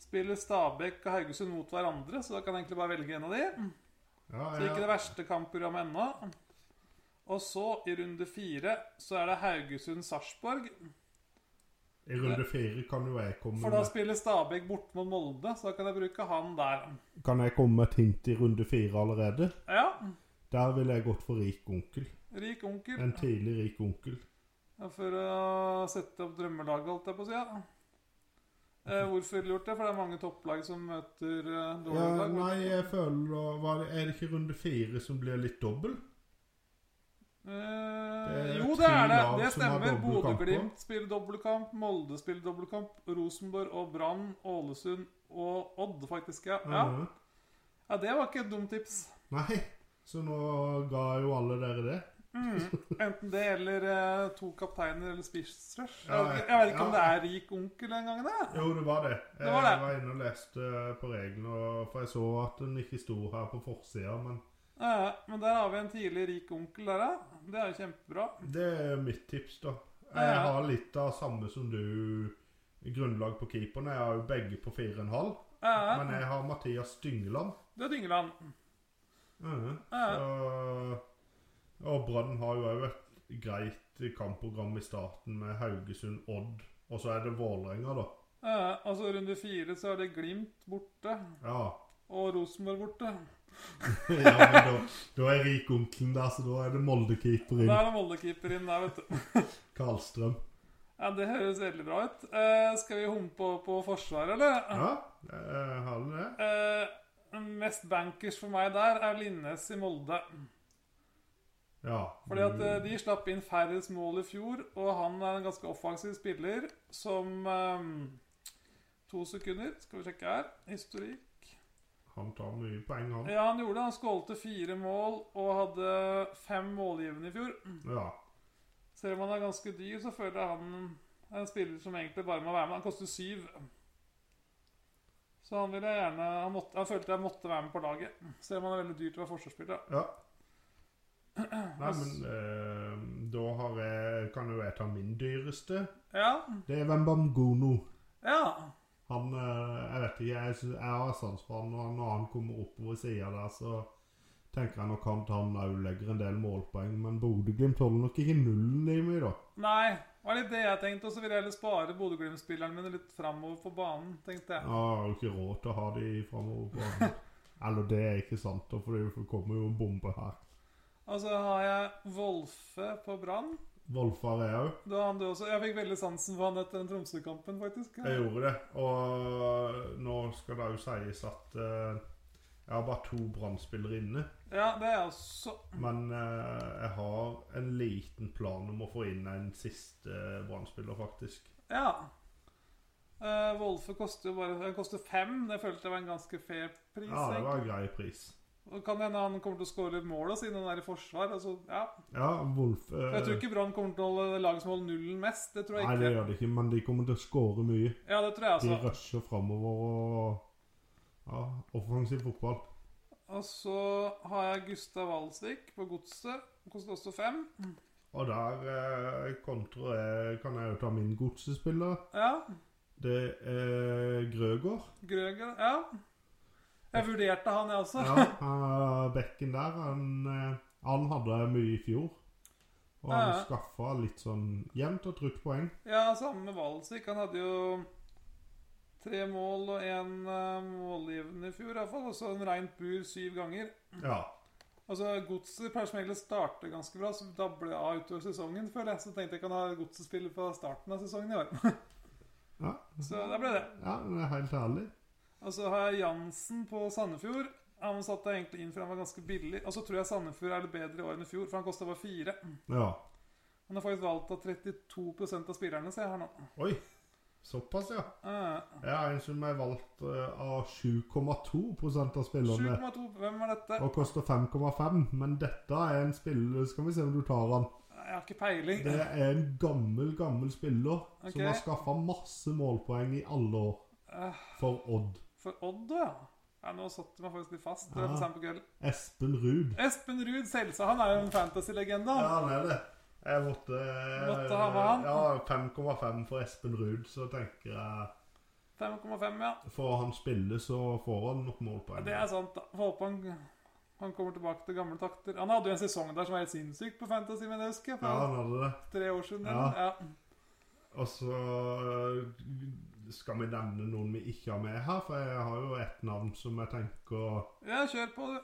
Speaker 2: spiller Stabæk og Haugesund mot hverandre, så da kan jeg egentlig bare velge en av de.
Speaker 1: Ja,
Speaker 2: Så
Speaker 1: ja.
Speaker 2: ikke det verste kampprogrammet ennå. Og så, i runde fire, så er det Haugesund-Sarpsborg.
Speaker 1: I runde fire kan jo jeg komme
Speaker 2: For da
Speaker 1: med
Speaker 2: spiller Stabæk borte mot Molde, så da kan jeg bruke han der.
Speaker 1: Kan jeg komme med et hint i runde fire allerede?
Speaker 2: Ja,
Speaker 1: Der ville jeg gått for rik onkel.
Speaker 2: rik onkel.
Speaker 1: En tidlig rik onkel.
Speaker 2: Ja, For å sette opp drømmelaget, holdt jeg på å si. Ja. Eh, hvorfor ville du gjort det? For det er mange topplag som møter eh, dårlige
Speaker 1: Ja,
Speaker 2: lag.
Speaker 1: nei, jeg føler var det, Er det ikke runde fire som blir litt dobbel?
Speaker 2: Eh,
Speaker 1: Det er
Speaker 2: jo,
Speaker 1: tre
Speaker 2: det er det.
Speaker 1: lag
Speaker 2: Det
Speaker 1: som har
Speaker 2: stemmer.
Speaker 1: dobbeltkamper.
Speaker 2: Bodø-Glimt spiller dobbeltkamp. Molde spiller dobbeltkamp. Rosenborg og Brann, Ålesund og Odd, faktisk. Ja. Ja.
Speaker 1: Mhm.
Speaker 2: ja, det var ikke et dumt tips.
Speaker 1: Nei, så nå ga jo alle dere det.
Speaker 2: Mm. Enten det eller eh, to kapteiner eller spissrush. Jeg,
Speaker 1: Ja,
Speaker 2: vet ikke- jeg vet ikke om det
Speaker 1: ja.
Speaker 2: er rik onkel en gang, det.
Speaker 1: Jo, det var det.
Speaker 2: [laughs] Det var det.
Speaker 1: Jeg var inne og leste på reglene, og- for jeg så at den ikke sto her på forsida, men
Speaker 2: Eh, men der har vi en tidlig rik onkel der, ja. Det er jo kjempebra.
Speaker 1: det er mitt tips, da. Jeg
Speaker 2: Ja.
Speaker 1: har litt av samme som du grunnlag på keeperne. Jeg har jo begge på 4,5,
Speaker 2: Ja,
Speaker 1: men jeg har Mathias Dyngland.
Speaker 2: det er Eh, Dyngeland.
Speaker 1: Mhm.
Speaker 2: Ja,
Speaker 1: Så, og Brann har jo òg et greit kampprogram i starten med Haugesund, Odd, og så er det Vålerenga, da.
Speaker 2: Eh, altså, runde fire så er det Glimt borte.
Speaker 1: Ja.
Speaker 2: Og Rosenborg borte.
Speaker 1: ja men da, da er rikonkelen der, så da er det Molde-keeper inn.
Speaker 2: Da er det Molde-keeper inn der, vet du.
Speaker 1: Karlstrøm.
Speaker 2: Ja, Det høres veldig bra ut. Eh, skal vi humpe over på forsvaret, eller?
Speaker 1: Ja, eh, har du det?
Speaker 2: Eh, mest bankers for meg der er Linnes i Molde.
Speaker 1: Ja.
Speaker 2: Fordi at eh, de slapp inn færrest mål i fjor, og han er en ganske offensiv spiller som eh, To sekunder, skal vi sjekke her. Historikk.
Speaker 1: Han tar mye poeng, han.
Speaker 2: Ja, han gjorde det. Han skålte fire mål og hadde fem målgivende i fjor.
Speaker 1: Ja.
Speaker 2: Selv om han er ganske dyr, så føler jeg han er en spiller som egentlig bare må være med. Han koster syv. Så han ville jeg gjerne han, måtte, han følte jeg måtte være med på laget. Selv om han er veldig dyr til å være forsvarsspiller. [clears throat]
Speaker 1: ja. Nei, men eh, da har jeg, kan jo jeg ta min dyreste.
Speaker 2: Ja.
Speaker 1: Det er Wembamgono.
Speaker 2: Ja.
Speaker 1: Han eh, Jeg vet ikke, jeg, synes, jeg har sans for han, og han- når han kommer oppover sida der, så tenker jeg nok han han òg legger en del målpoeng, men Bodø-Glimt holder nok ikke nullen i mye, da.
Speaker 2: Nei, det var litt det jeg tenkte. Og så ville jeg heller spare Bodø-Glimt-spillerne mine litt framover på banen, tenkte
Speaker 1: Jeg
Speaker 2: jeg.
Speaker 1: har jo ikke råd til å ha de framover på banen. Eller det er ikke sant, da, for det kommer jo en bombe her.
Speaker 2: Og så har jeg Wolfe på Brann.
Speaker 1: Volfar er òg.
Speaker 2: Da han døde også. Jeg fikk veldig sansen for han etter den Tromsø-kampen, faktisk.
Speaker 1: Jeg gjorde det. Og nå skal det òg sies at eh, jeg har bare to Brann-spillere inne.
Speaker 2: Ja, det er jeg også.
Speaker 1: Men eh, jeg har en liten plan om å få inn en siste Brann-spiller, faktisk.
Speaker 2: Ja. Uh, Wolfe koster jo bare Han koster fem. Det følte jeg var en ganske fair pris.
Speaker 1: Ja, det
Speaker 2: egentlig.
Speaker 1: var en grei pris.
Speaker 2: Og Kan hende han kommer til å skåre litt mål da, siden han er i forsvar. Altså, ja.
Speaker 1: Ja, Wolf eh,
Speaker 2: Jeg tror ikke Brann kommer til å holde laget som holder nullen mest. Det tror jeg
Speaker 1: Nei, det
Speaker 2: ikke.
Speaker 1: gjør de ikke, men de kommer til å skåre mye.
Speaker 2: Ja, det tror jeg
Speaker 1: De
Speaker 2: altså.
Speaker 1: rusher framover og Ja, offensiv fotball.
Speaker 2: Og så har jeg Gustav Walsvik på Godset. Han koster også fem.
Speaker 1: Og der eh, kontra jeg, kan jeg jo ta min godsespiller.
Speaker 2: Ja.
Speaker 1: Det er Grøgaard.
Speaker 2: Grøger. Ja. Jeg vurderte han, jeg [laughs] også.
Speaker 1: Ja, eh, bekken der han, eh, han hadde mye i fjor. Og han
Speaker 2: Ja, ja.
Speaker 1: skaffa litt sånn jevnt og trutt poeng.
Speaker 2: Ja, samme med Walsvik. Han hadde jo tre mål og én målgivende i fjor, iallfall. Og så en reint bur syv ganger.
Speaker 1: Ja.
Speaker 2: Altså, Godset pleier som regel å starte ganske bra, så dabler det av utover sesongen, føler jeg. Så tenkte jeg kan ha Godset-spiller fra starten av sesongen i år.
Speaker 1: Ja.
Speaker 2: [laughs] Så da ble det.
Speaker 1: ja, det er helt ærlig.
Speaker 2: Og så har jeg Jansen på Sandefjord. Han satte jeg egentlig inn for han var ganske billig. Og så tror jeg Sandefjord er litt bedre i år enn i fjor, for han kosta bare fire.
Speaker 1: Ja.
Speaker 2: Han har faktisk valgt av 32 av spillerne, ser jeg her nå.
Speaker 1: Oi. Såpass, ja.
Speaker 2: Eh,
Speaker 1: Jeg er en som er valgt eh, av 7,2 av spillerne.
Speaker 2: 7,2. Hvem er dette?
Speaker 1: Og koster 5,5, men dette er en spiller Skal vi se om du tar han.
Speaker 2: Jeg har ikke peiling.
Speaker 1: Det er en gammel, gammel spiller
Speaker 2: Ok.
Speaker 1: som har skaffa masse målpoeng i alle år
Speaker 2: Eh,
Speaker 1: for Odd.
Speaker 2: For Odd, ja. ja nå satte du meg faktisk litt fast. Det
Speaker 1: Ja.
Speaker 2: er på samme kveld.
Speaker 1: Espen Ruud.
Speaker 2: Espen Ruud Selsa, han er jo en fantasy-legende.
Speaker 1: Ja,
Speaker 2: han.
Speaker 1: han er det. Jeg måtte, eh,
Speaker 2: Måtte ha med han.
Speaker 1: Ja, 5,5 for Espen Ruud, så tenker jeg
Speaker 2: 5,5, ja.
Speaker 1: Får han spille, så får han nok målpoeng.
Speaker 2: Det er sant. da. Får håpe han, han kommer tilbake til gamle takter. Han hadde jo en sesong der som var helt sinnssyk på fantasy, men jeg husker.
Speaker 1: Ja,
Speaker 2: For
Speaker 1: han hadde det.
Speaker 2: tre år siden.
Speaker 1: Ja.
Speaker 2: Ja.
Speaker 1: Og så øh, skal vi nevne noen vi ikke har med her, for jeg har jo et navn som jeg tenker
Speaker 2: ja, kjør på, du.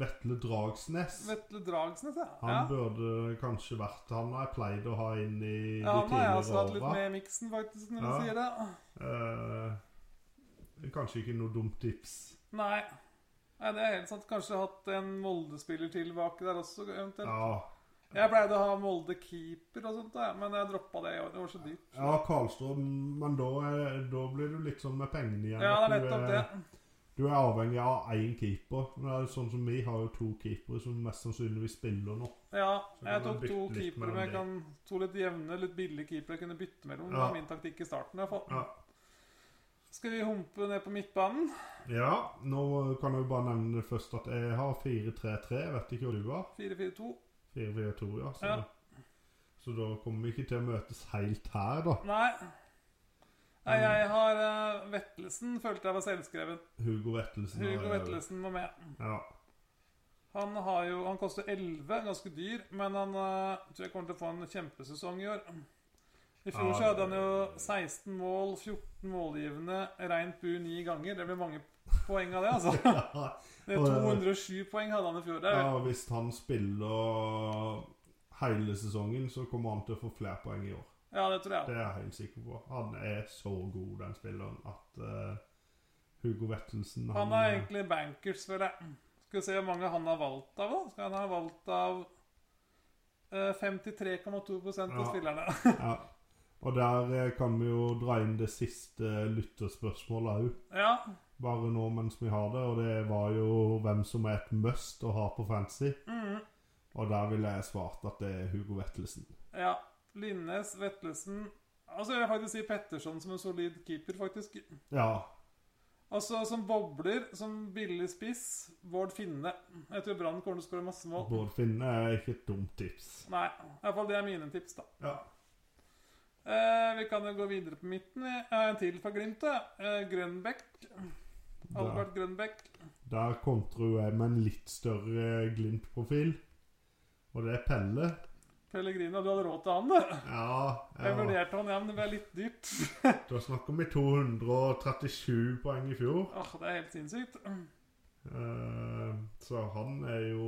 Speaker 1: Vetle Dragsnes.
Speaker 2: Vetle Dragsnes, ja.
Speaker 1: Han
Speaker 2: ja.
Speaker 1: burde kanskje vært Han har jeg pleid å ha inn i
Speaker 2: Ja,
Speaker 1: de
Speaker 2: han har jeg også
Speaker 1: tidligere
Speaker 2: hatt litt
Speaker 1: åra.
Speaker 2: med i miksen, faktisk, når
Speaker 1: Ja.
Speaker 2: du sier det.
Speaker 1: Eh, kanskje ikke noe dumt tips.
Speaker 2: Nei. Nei, det er helt sant. Kanskje hatt en Molde-spiller tilbake der også, eventuelt.
Speaker 1: Ja,
Speaker 2: Jeg pleide å ha Molde keeper og sånt, da, men jeg droppa det i år. Det var så dyrt.
Speaker 1: Ja, Karlstrøm, men da, er- da blir du litt sånn med pengene igjen.
Speaker 2: Ja,
Speaker 1: at
Speaker 2: det er
Speaker 1: du eh,
Speaker 2: nettopp det.
Speaker 1: Du er avhengig av én keeper. Men det er jo sånn som Vi har jo to keepere som mest sannsynligvis spiller nå.
Speaker 2: Ja,
Speaker 1: Så kan man
Speaker 2: jeg tok to
Speaker 1: bytte litt
Speaker 2: keepere,
Speaker 1: mellom
Speaker 2: men jeg
Speaker 1: de.
Speaker 2: kan to litt jevne, litt billige keepere jeg kunne bytte mellom. Det
Speaker 1: Ja.
Speaker 2: var min taktikk i starten. i hvert fall.
Speaker 1: Ja.
Speaker 2: Skal vi humpe ned på midtbanen?
Speaker 1: ja, nå kan jeg jo bare nevne først at jeg har 4-3-3. Jeg vet ikke hva du har.
Speaker 2: 4-4-2.
Speaker 1: 4-4-2, ja. Så,
Speaker 2: Ja.
Speaker 1: så da kommer vi ikke til å møtes helt her, da.
Speaker 2: Nei. Nei,
Speaker 1: Mm.
Speaker 2: jeg har eh, Vettelsen, følte jeg var selvskreven.
Speaker 1: Hugo Vettelsen. har
Speaker 2: Hugo
Speaker 1: jeg jo.
Speaker 2: [laughs] Vettelsen var med.
Speaker 1: Ja.
Speaker 2: Han, har jo, han koster 11, ganske dyr, men han eh, tror jeg kommer til å få en kjempesesong i år. I fjor
Speaker 1: Ja,
Speaker 2: så hadde han
Speaker 1: det-
Speaker 2: jo 16 mål, 14 målgivende, reint bu ni ganger. Det ble mange poeng av det,
Speaker 1: [laughs]
Speaker 2: altså.
Speaker 1: [laughs] Ja,
Speaker 2: Det er 207 poeng hadde han i fjor. Det er
Speaker 1: ja, hvis han spiller hele sesongen, så kommer han til å få flere poeng i år.
Speaker 2: Ja, det tror jeg.
Speaker 1: Det er jeg helt sikker på. Han er så god, den spilleren, at eh, Hugo Vettelsen
Speaker 2: Han er egentlig bankers, føler jeg. Skal vi se hvor mange han har valgt av, da. Skal han ha valgt av eh, 53,2 av
Speaker 1: Ja.
Speaker 2: spillerne. [laughs]
Speaker 1: ja. Og der eh, kan vi jo dra inn det siste lytterspørsmålet òg.
Speaker 2: ja.
Speaker 1: Bare nå mens vi har det, og det var jo hvem som er et must å ha på fantasy.
Speaker 2: Mm,
Speaker 1: Og der ville jeg svart at det er Hugo Vettelsen.
Speaker 2: ja. Linnes, Vetlesen Altså, jeg vil faktisk si Petterson som en solid keeper, faktisk.
Speaker 1: Ja.
Speaker 2: Altså, som bobler, som billig spiss, Bård Finne. Jeg tror Brann kommer til å skåre masse mål.
Speaker 1: Bård Finne er ikke et dumt tips.
Speaker 2: Nei, iallfall det er mine tips, da.
Speaker 1: Ja.
Speaker 2: Eh, vi kan jo gå videre på midten. vi. Eh, en til fra Glimt, da. Eh, Grønbekk.
Speaker 1: Der,
Speaker 2: Albert Grønbekk.
Speaker 1: der kontrer jo jeg med en litt større Glimt-profil, og det er Pelle.
Speaker 2: Pellegrino, du hadde råd til han, du.
Speaker 1: Ja,
Speaker 2: Jeg
Speaker 1: ja.
Speaker 2: vurderte han, ja, men det ble litt dyrt.
Speaker 1: Da snakker vi 237 poeng i fjor.
Speaker 2: Åh, Det er helt sinnssykt.
Speaker 1: Eh, så han er jo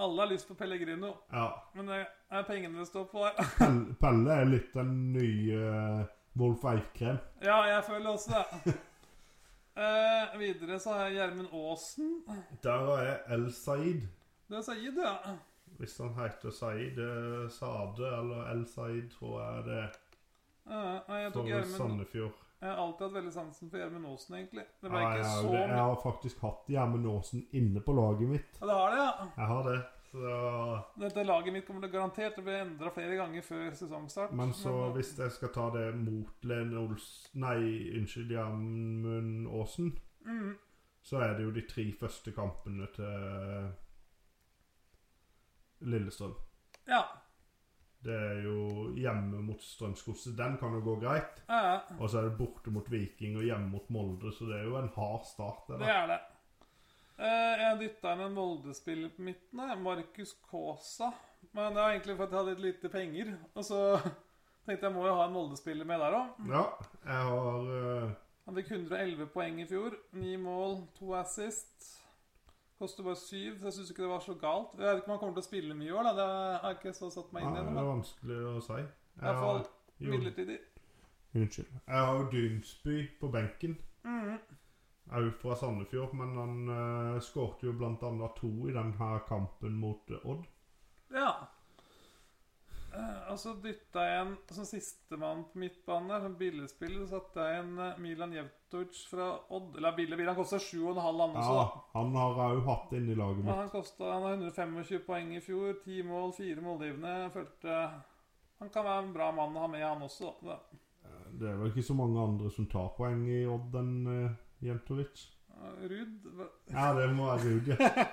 Speaker 2: Alle har lyst på Pellegrino,
Speaker 1: Ja.
Speaker 2: men det er pengene det står på der.
Speaker 1: Pelle, Pelle er litt den nye Wolf Eikrem.
Speaker 2: Ja, jeg føler også
Speaker 1: [laughs]
Speaker 2: det. Eh, videre så har jeg Gjermund Aasen.
Speaker 1: Der er El Said.
Speaker 2: Det er Sayid, ja.
Speaker 1: Hvis han heter Said eh, Sade eller El Said, tror jeg det er.
Speaker 2: Eh, nei, jeg tok
Speaker 1: For
Speaker 2: Gjermund
Speaker 1: Sandefjord.
Speaker 2: Jeg har alltid hatt veldig sansen for Gjermund Aasen, egentlig. Det ble
Speaker 1: Ja,
Speaker 2: ikke
Speaker 1: jeg, har
Speaker 2: så
Speaker 1: jo det. jeg
Speaker 2: mye.
Speaker 1: har faktisk hatt Gjermund Aasen inne på laget mitt.
Speaker 2: Ja, det har det, ja.
Speaker 1: Jeg har det. Så,
Speaker 2: Dette laget mitt kommer til å garantert til å bli endra flere ganger før sesongstart.
Speaker 1: men så
Speaker 2: Men, eh,
Speaker 1: hvis jeg skal ta det mot Len Olsen Nei, unnskyld, Gjermund Aasen,
Speaker 2: mm,
Speaker 1: så er det jo de tre første kampene til eh, Lillestrøm.
Speaker 2: Ja.
Speaker 1: Det er jo hjemme mot Strømsgodset. Den kan jo gå greit.
Speaker 2: eh,
Speaker 1: Og så er det borte mot Viking og hjemme mot Molde, så det er jo en hard start.
Speaker 2: Det
Speaker 1: Eller?
Speaker 2: er det. Eh, jeg dytta inn en Molde-spiller på midten, jeg. Markus Kaasa. Men det var egentlig for at jeg hadde litt lite penger. Og så [laughs] tenkte jeg må jo ha en Molde-spiller med der òg.
Speaker 1: Ja, jeg har eh,
Speaker 2: Han fikk 111 poeng i fjor. Ni mål, to assist. Koster bare syv, så jeg syns ikke det var så galt. Jeg vet ikke om han kommer til å spille mye i år, da. Det har jeg ikke så satt meg
Speaker 1: ja,
Speaker 2: inn i
Speaker 1: Det
Speaker 2: ennå.
Speaker 1: er
Speaker 2: men
Speaker 1: vanskelig å si.
Speaker 2: I hvert fall
Speaker 1: jo-
Speaker 2: midlertidig.
Speaker 1: Unnskyld. Jeg har jo Dynsby på benken.
Speaker 2: Mhm.
Speaker 1: Òg fra Sandefjord, men han uh, skårte jo blant annet to i denne kampen mot eh, Odd.
Speaker 2: Ja. Eh, Og så dytta jeg en som sistemann på midtbanen her, som billigspiller, så satte jeg en eh, Milan Jevtovic fra Odd. Eller billig, billig. Han kosta 7,5 han også,
Speaker 1: Ja,
Speaker 2: da.
Speaker 1: han har jeg òg hatt inne i laget
Speaker 2: Men
Speaker 1: mitt.
Speaker 2: han kostet, han har 125 poeng i fjor. 10 mål, 4 målgivende. Jeg følte han kan være en bra mann å ha med, han også. Da. Det-
Speaker 1: Eh, Det er vel ikke så mange andre som tar poeng i Odd enn uh, Jentovic.
Speaker 2: Ruud hva-
Speaker 1: Ja, det må være
Speaker 2: [laughs]
Speaker 1: Rudi. Det sånn.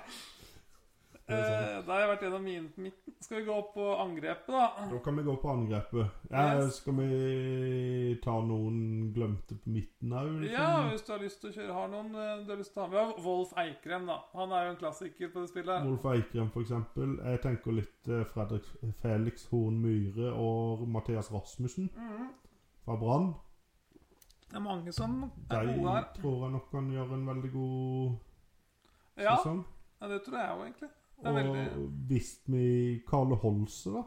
Speaker 1: er sant.
Speaker 2: eh, Da har jeg vært gjennom mine på midten. Skal vi gå opp på angrepet, da?
Speaker 1: Da kan vi gå på angrepet. Ja,
Speaker 2: Yes.
Speaker 1: Skal vi ta noen glemte på midten òg?
Speaker 2: Ja, hvis du har lyst til å kjøre Har noen eh, du har lyst til å ha med? Vi har Wolf Eikrem, da. Han er jo en klassiker på det spillet. her.
Speaker 1: Wolf Eikrem, for eksempel. Jeg tenker litt eh, Fredrik, Felix Horn Myhre og Mathias Rasmussen
Speaker 2: Mhm.
Speaker 1: fra Brann.
Speaker 2: Det er mange som er
Speaker 1: De
Speaker 2: gode her.
Speaker 1: tror jeg nok kan gjøre en veldig god
Speaker 2: Ja,
Speaker 1: sesong.
Speaker 2: ja, det tror jeg òg, egentlig. Det er
Speaker 1: Og
Speaker 2: veldig
Speaker 1: hvis vi Karle Holse, da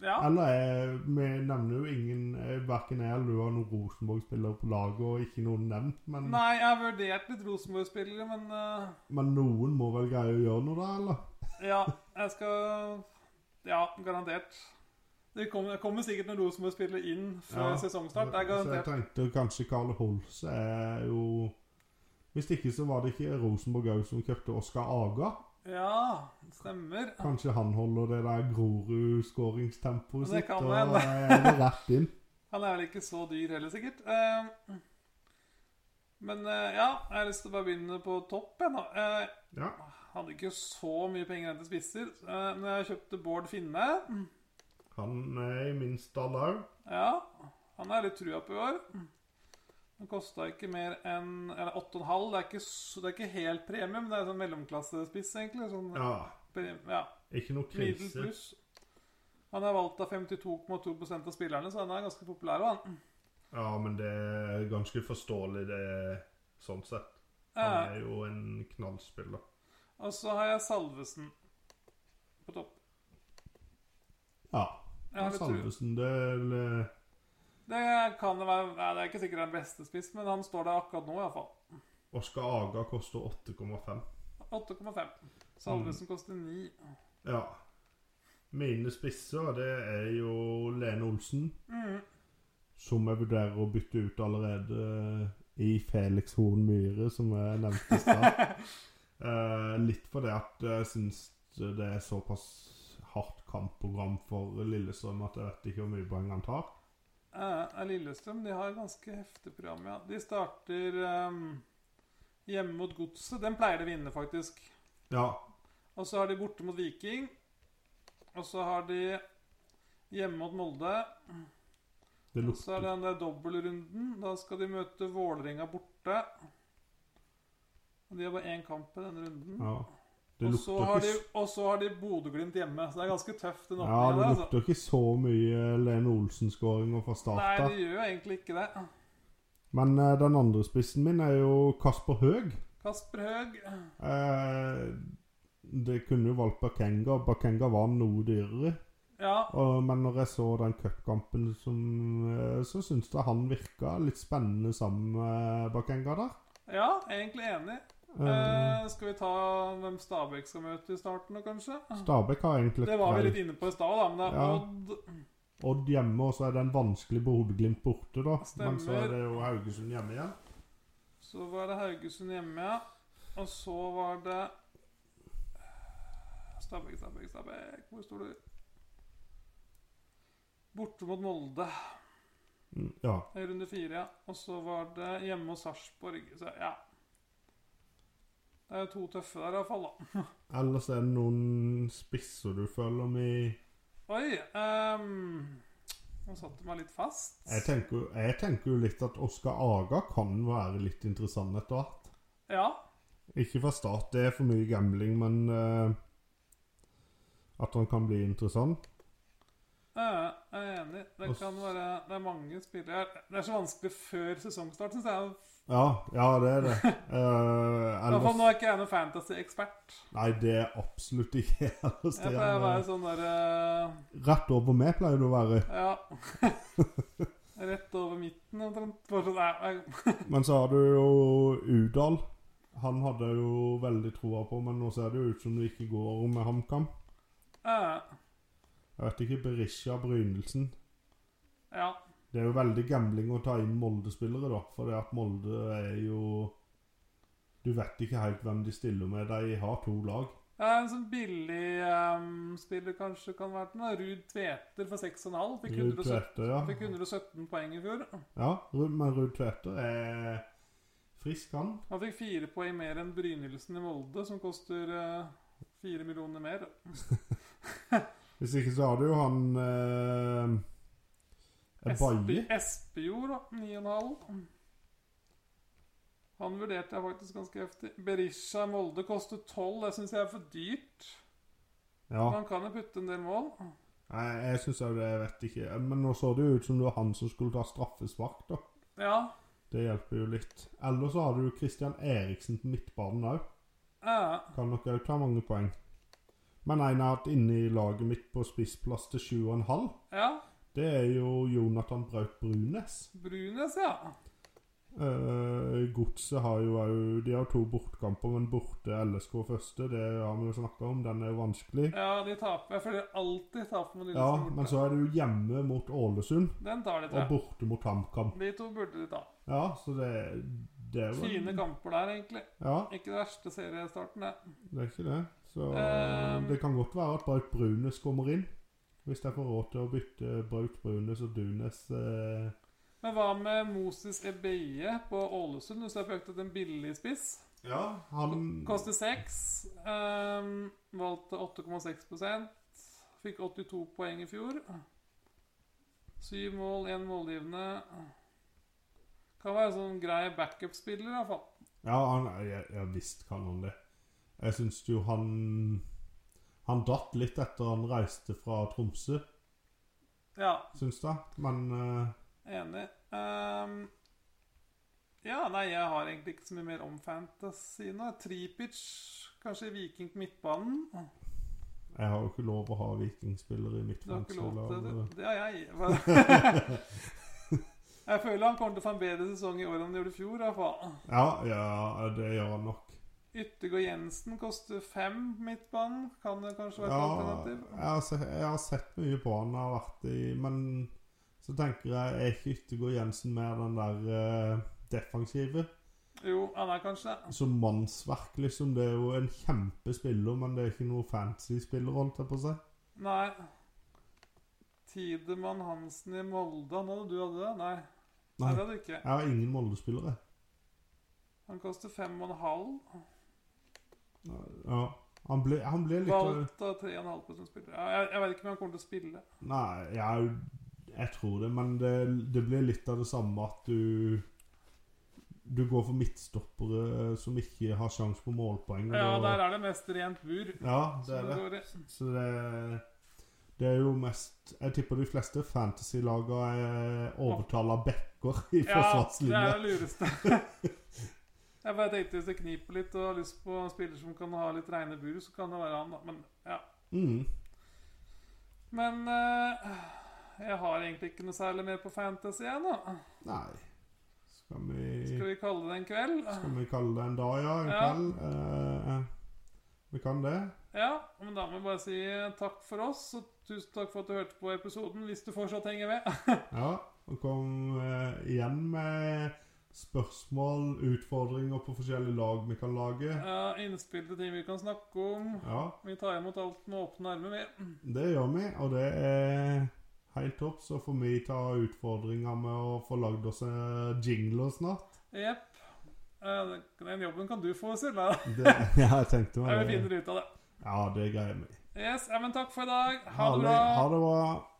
Speaker 2: Ja.
Speaker 1: Eller er, vi nevner jo ingen Verken jeg eller du har noen Rosenborg-spillere på laget, og ikke noen nevnt, men,
Speaker 2: Nei, jeg har vurdert litt Rosenborg-spillere, men eh,
Speaker 1: men noen må vel greie å gjøre noe, da, eller?
Speaker 2: ja, jeg skal Ja, garantert. Det kommer, det kommer sikkert noen Rosenborg-spillere inn før
Speaker 1: Ja,
Speaker 2: sesongstart.
Speaker 1: Så
Speaker 2: Det er
Speaker 1: jeg
Speaker 2: garantert.
Speaker 1: tenkte kanskje Karle Holse er jo Hvis ikke så var det ikke Rosenborg òg som kjøpte Oskar Aga.
Speaker 2: Ja, det stemmer.
Speaker 1: Kanskje han holder det der Grorud-skåringstempoet
Speaker 2: Det
Speaker 1: sitt,
Speaker 2: kan
Speaker 1: og
Speaker 2: hende.
Speaker 1: er det rett inn.
Speaker 2: Han er vel ikke så dyr heller, sikkert. Eh, men eh, ja, jeg har lyst til å bare begynne på topp, jeg, nå. Eh,
Speaker 1: Ja.
Speaker 2: hadde ikke så mye penger igjen til spisser, eh, men jeg kjøpte Bård Finne.
Speaker 1: Han er i min stall òg.
Speaker 2: Ja, han har litt trua på i år. Den kosta ikke mer enn Eller 8,5. Det, er ikke s- det er ikke helt premie, men det er sånn mellomklassespiss, egentlig. Sånn,
Speaker 1: Ja.
Speaker 2: pre- ja.
Speaker 1: Ikke noe
Speaker 2: Middel
Speaker 1: krise.
Speaker 2: pluss. Han er valgt av 52,2 av spillerne, så han er ganske populær. og Han,
Speaker 1: Ja, men det er ganske forståelig, det sånn sett. Han
Speaker 2: eh,
Speaker 1: er jo en knallspiller.
Speaker 2: og så har jeg Salvesen på topp.
Speaker 1: Ja.
Speaker 2: Jeg har litt tru.
Speaker 1: Salvesen, det er vel, eh,
Speaker 2: Det kan det være nei, Det er ikke sikkert den beste spiss, men han står der akkurat nå, iallfall.
Speaker 1: Oskar Aga koster 8,5.
Speaker 2: 8,5.
Speaker 1: Mm.
Speaker 2: Salvesen koster 9.
Speaker 1: Ja. Mine spisser, det er jo Lene Olsen,
Speaker 2: Mm.
Speaker 1: som jeg vurderer å bytte ut allerede eh, i Felix Horn Myhre, som jeg nevnte i
Speaker 2: [laughs]
Speaker 1: stad. Eh, litt fordi at jeg syns det er såpass hardt kampprogram for Lillestrøm at jeg vet ikke hvor mye poeng han tar.
Speaker 2: Eh, Lillestrøm de har et ganske heftig program. ja. De starter ehm, hjemme mot Godset. Den pleier de å vinne, faktisk.
Speaker 1: Ja.
Speaker 2: Og så har de borte mot Viking. Og så har de hjemme mot Molde.
Speaker 1: Det
Speaker 2: Og så
Speaker 1: lukter
Speaker 2: er det den der dobbeltrunden. Da skal de møte Vålerenga borte. Og de har bare én kamp i denne runden.
Speaker 1: Ja. Det
Speaker 2: Og så
Speaker 1: lukter
Speaker 2: har
Speaker 1: ikke
Speaker 2: de, og så har de Bodø-Glimt hjemme. Så det er ganske tøft, den
Speaker 1: Ja,
Speaker 2: oppgjøret.
Speaker 1: det
Speaker 2: altså.
Speaker 1: lukter ikke så mye Lene Olsen-skåringer fra start.
Speaker 2: Nei,
Speaker 1: da.
Speaker 2: det gjør jo egentlig ikke det.
Speaker 1: Men eh, den andre spissen min er jo Kasper Høeg.
Speaker 2: Kasper Høeg
Speaker 1: Eh, det kunne jo valgt Bakenga. Bakenga var noe dyrere.
Speaker 2: Ja,
Speaker 1: Og, men når jeg så den cupkampen, som, eh, så syns jeg han virka litt spennende sammen med Bakenga der.
Speaker 2: ja, egentlig enig.
Speaker 1: Eh,
Speaker 2: Eh, skal vi ta hvem Stabæk skal møte i starten nå, kanskje?
Speaker 1: Stabæk har egentlig
Speaker 2: Eh, Det
Speaker 1: et
Speaker 2: var vi
Speaker 1: grei-
Speaker 2: litt inne på i stad, da. Men det er
Speaker 1: Ja.
Speaker 2: Odd
Speaker 1: Odd hjemme, og så er det en vanskelig på Bodø-Glimt borte, da. Men så
Speaker 2: Stemmer.
Speaker 1: er det jo Haugesund hjemme igjen.
Speaker 2: Så var det Haugesund hjemme, ja. Og så var det Stabæk, Stabæk, Stabæk. Hvor står du? Borte mot Molde
Speaker 1: Mm, Ja.
Speaker 2: i runde fire, ja. Og så var det hjemme hos Sarpsborg. Så ja. Det er jo to tøffe der, iallfall, da.
Speaker 1: Ellers er det noen spisser du føler vi
Speaker 2: Oi ehm, Nå satte du meg litt fast.
Speaker 1: Jeg tenker, jeg tenker jo litt at Oskar Aga kan være litt interessant etter hvert.
Speaker 2: Ja.
Speaker 1: Ikke fra start, det er for mye gambling, men eh, at han kan bli interessant.
Speaker 2: Jeg er enig. Det
Speaker 1: Og s-
Speaker 2: kan være Det er mange spillere her. Det er så vanskelig før sesongstart, syns jeg.
Speaker 1: Ja, ja, det er det.
Speaker 2: [laughs]
Speaker 1: Eh,
Speaker 2: I hvert fall
Speaker 1: ellers
Speaker 2: nå er ikke jeg noen fantasy-ekspert.
Speaker 1: Nei, det er absolutt ikke [laughs] jeg, ellers.
Speaker 2: Jeg
Speaker 1: det
Speaker 2: pleier å være
Speaker 1: er- eh,
Speaker 2: sånn derre
Speaker 1: Rett over meg pleier du å være.
Speaker 2: Ja. [laughs] Rett over midten, omtrent. Bare sånn, nei, jeg-
Speaker 1: Men så har du jo Udal. Han hadde jeg jo veldig troa på, men nå ser det jo ut som det ikke går med HamKam.
Speaker 2: eh,
Speaker 1: Jeg vet ikke. Berisha Brynelsen.
Speaker 2: Ja.
Speaker 1: Det er jo veldig gambling å ta inn Molde-spillere, da. For det at Molde er jo Du vet ikke helt hvem de stiller med. De har to lag.
Speaker 2: Ja, en sånn billig ehm, spiller kanskje kan være den. da. Ruud Tveter for 6,5. Fikk
Speaker 1: Ruud
Speaker 2: 117,
Speaker 1: Tveter, ja.
Speaker 2: fikk 117 poeng i fjor.
Speaker 1: ja. Ru- Men Ruud Tveter er frisk, han.
Speaker 2: Han fikk fire poeng mer enn Brynildsen i Molde, som koster eh, fire millioner mer.
Speaker 1: Hvis ikke så har du jo eh, han eh, Baye.
Speaker 2: Espe- Espejord, da. 9,5. Han vurderte jeg faktisk ganske heftig. Berisha i Molde koster 12. Det syns jeg er for dyrt.
Speaker 1: Ja.
Speaker 2: Men han kan jo putte en del mål.
Speaker 1: Nei, jeg syns òg det, jeg vet ikke. Men nå så det jo ut som det var han som skulle ta straffespark, da.
Speaker 2: Ja.
Speaker 1: Det hjelper jo litt. Eller så har du Christian Eriksen på midtbanen òg.
Speaker 2: eh,
Speaker 1: Kan nok òg ta mange poeng. Men en jeg har hatt inne i laget mitt på spissplass til 7,5,
Speaker 2: ja.
Speaker 1: det er jo Jonathan Braut Brunes.
Speaker 2: Brunes, ja.
Speaker 1: Eh, Godset har jo òg De har to bortkamper, men borte LSK første, det har vi jo snakka om, den er jo vanskelig.
Speaker 2: Ja, de taper. Jeg føler alltid taper mot
Speaker 1: Ja,
Speaker 2: Lillestrøm.
Speaker 1: men
Speaker 2: borte.
Speaker 1: så er det jo hjemme mot Ålesund,
Speaker 2: Den tar de,
Speaker 1: og
Speaker 2: tror jeg.
Speaker 1: borte mot HamKam.
Speaker 2: De to burde de ta.
Speaker 1: Ja, så det, det er jo
Speaker 2: Fine kamper der, egentlig.
Speaker 1: Ja,
Speaker 2: Ikke det verste seriestarten, det.
Speaker 1: det er ikke det. Så
Speaker 2: Eh,
Speaker 1: det kan godt være at Braut Brunes kommer inn. Hvis jeg får råd til å bytte Braut Brunes og Dunes eh,
Speaker 2: Men hva med Moses Ebeye på Ålesund? Du ser på jakt etter en billig spiss.
Speaker 1: Ja, han
Speaker 2: Koster 6. Um, valgte 8,6 Fikk 82 poeng i fjor. Syv mål, én målgivende. Kan være en sånn grei backup-spiller, i hvert fall.
Speaker 1: Ja, han, jeg, jeg visst kan han det. Jeg syns jo han Han datt litt etter han reiste fra Tromsø,
Speaker 2: Ja,
Speaker 1: syns jeg. Men eh,
Speaker 2: enig. Ehm, ja, nei, jeg har egentlig ikke så mye mer om fantasy nå. Tripic, kanskje Viking på midtbanen.
Speaker 1: jeg har jo ikke lov å ha vikingspillere i mitt
Speaker 2: Du har ikke lov til det.
Speaker 1: fangstlag.
Speaker 2: Det har jeg. Jeg føler han kommer til å få en bedre sesong i år enn han gjorde i fjor. i hvert fall.
Speaker 1: Ja, ja, det gjør han nok.
Speaker 2: Yttergård Jensen koster fem på midtbanen. Kan det kanskje være
Speaker 1: Ja,
Speaker 2: et
Speaker 1: jeg
Speaker 2: alternativ?
Speaker 1: har, se- jeg har sett mye på han har vært i Men så tenker jeg er ikke Yttergård Jensen mer den der eh, defensive?
Speaker 2: Jo, han er kanskje det.
Speaker 1: Som mannsverk, liksom. Det er jo en kjempespiller, men det er ikke noe fancy spiller, holdt jeg på å si.
Speaker 2: Nei. Tidemann Hansen i Molde. Han hadde du hadde det? Nei. Nei.
Speaker 1: Nei.
Speaker 2: Det hadde du ikke.
Speaker 1: Jeg har ingen Molde-spillere.
Speaker 2: Han koster fem og en halv.
Speaker 1: Ja. Han ble, han ble litt
Speaker 2: Valgt av tre og en halv prosent spillere. Ja, Jeg, jeg vet ikke om han kommer til å spille.
Speaker 1: Nei, jeg, jeg tror det, men det, det blir litt av det samme at du Du går for midtstoppere eh, som ikke har sjanse på målpoeng. og
Speaker 2: Ja,
Speaker 1: da-
Speaker 2: der er det mest rent bur.
Speaker 1: ja, det
Speaker 2: som
Speaker 1: er
Speaker 2: det
Speaker 1: det.
Speaker 2: går i.
Speaker 1: Så det, det er jo mest Jeg tipper de fleste fantasy-laga er overtalt av backer i
Speaker 2: Ja, det
Speaker 1: forsvarslinja.
Speaker 2: er det
Speaker 1: [laughs]
Speaker 2: lureste. Jeg bare tenkte hvis det kniper litt og har lyst på en spiller som kan ha litt reine bur, så kan det være han, da. Men ja.
Speaker 1: Mm.
Speaker 2: Men eh, jeg har egentlig ikke noe særlig mer på fantasy, jeg, nå.
Speaker 1: Nei skal vi,
Speaker 2: Skal vi kalle det en kveld?
Speaker 1: skal vi kalle det en dag, ja? En
Speaker 2: Ja.
Speaker 1: kveld? Eh, vi kan det.
Speaker 2: Ja, men da må vi bare si eh, takk for oss, og tusen takk for at du hørte på episoden, hvis du fortsatt henger med.
Speaker 1: Ja, og kom eh, igjen med spørsmål, utfordringer på forskjellige lag vi kan lage.
Speaker 2: Ja, innspill til ting vi kan snakke om.
Speaker 1: Ja,
Speaker 2: Vi tar imot alt med åpne armer, vi.
Speaker 1: det gjør vi, og det er helt topp. Så får vi ta utfordringer med å få lagd oss eh, jingler snart.
Speaker 2: Jepp. Eh, den- Den jobben kan du få, Silla.
Speaker 1: Det, [laughs] ja, jeg tenkte
Speaker 2: Jeg
Speaker 1: meg
Speaker 2: vil
Speaker 1: det.
Speaker 2: finne ut av det.
Speaker 1: Ja, det greier vi.
Speaker 2: Yes, ja, men takk for i dag. Ha det
Speaker 1: Herlig.
Speaker 2: bra.
Speaker 1: Ha det bra.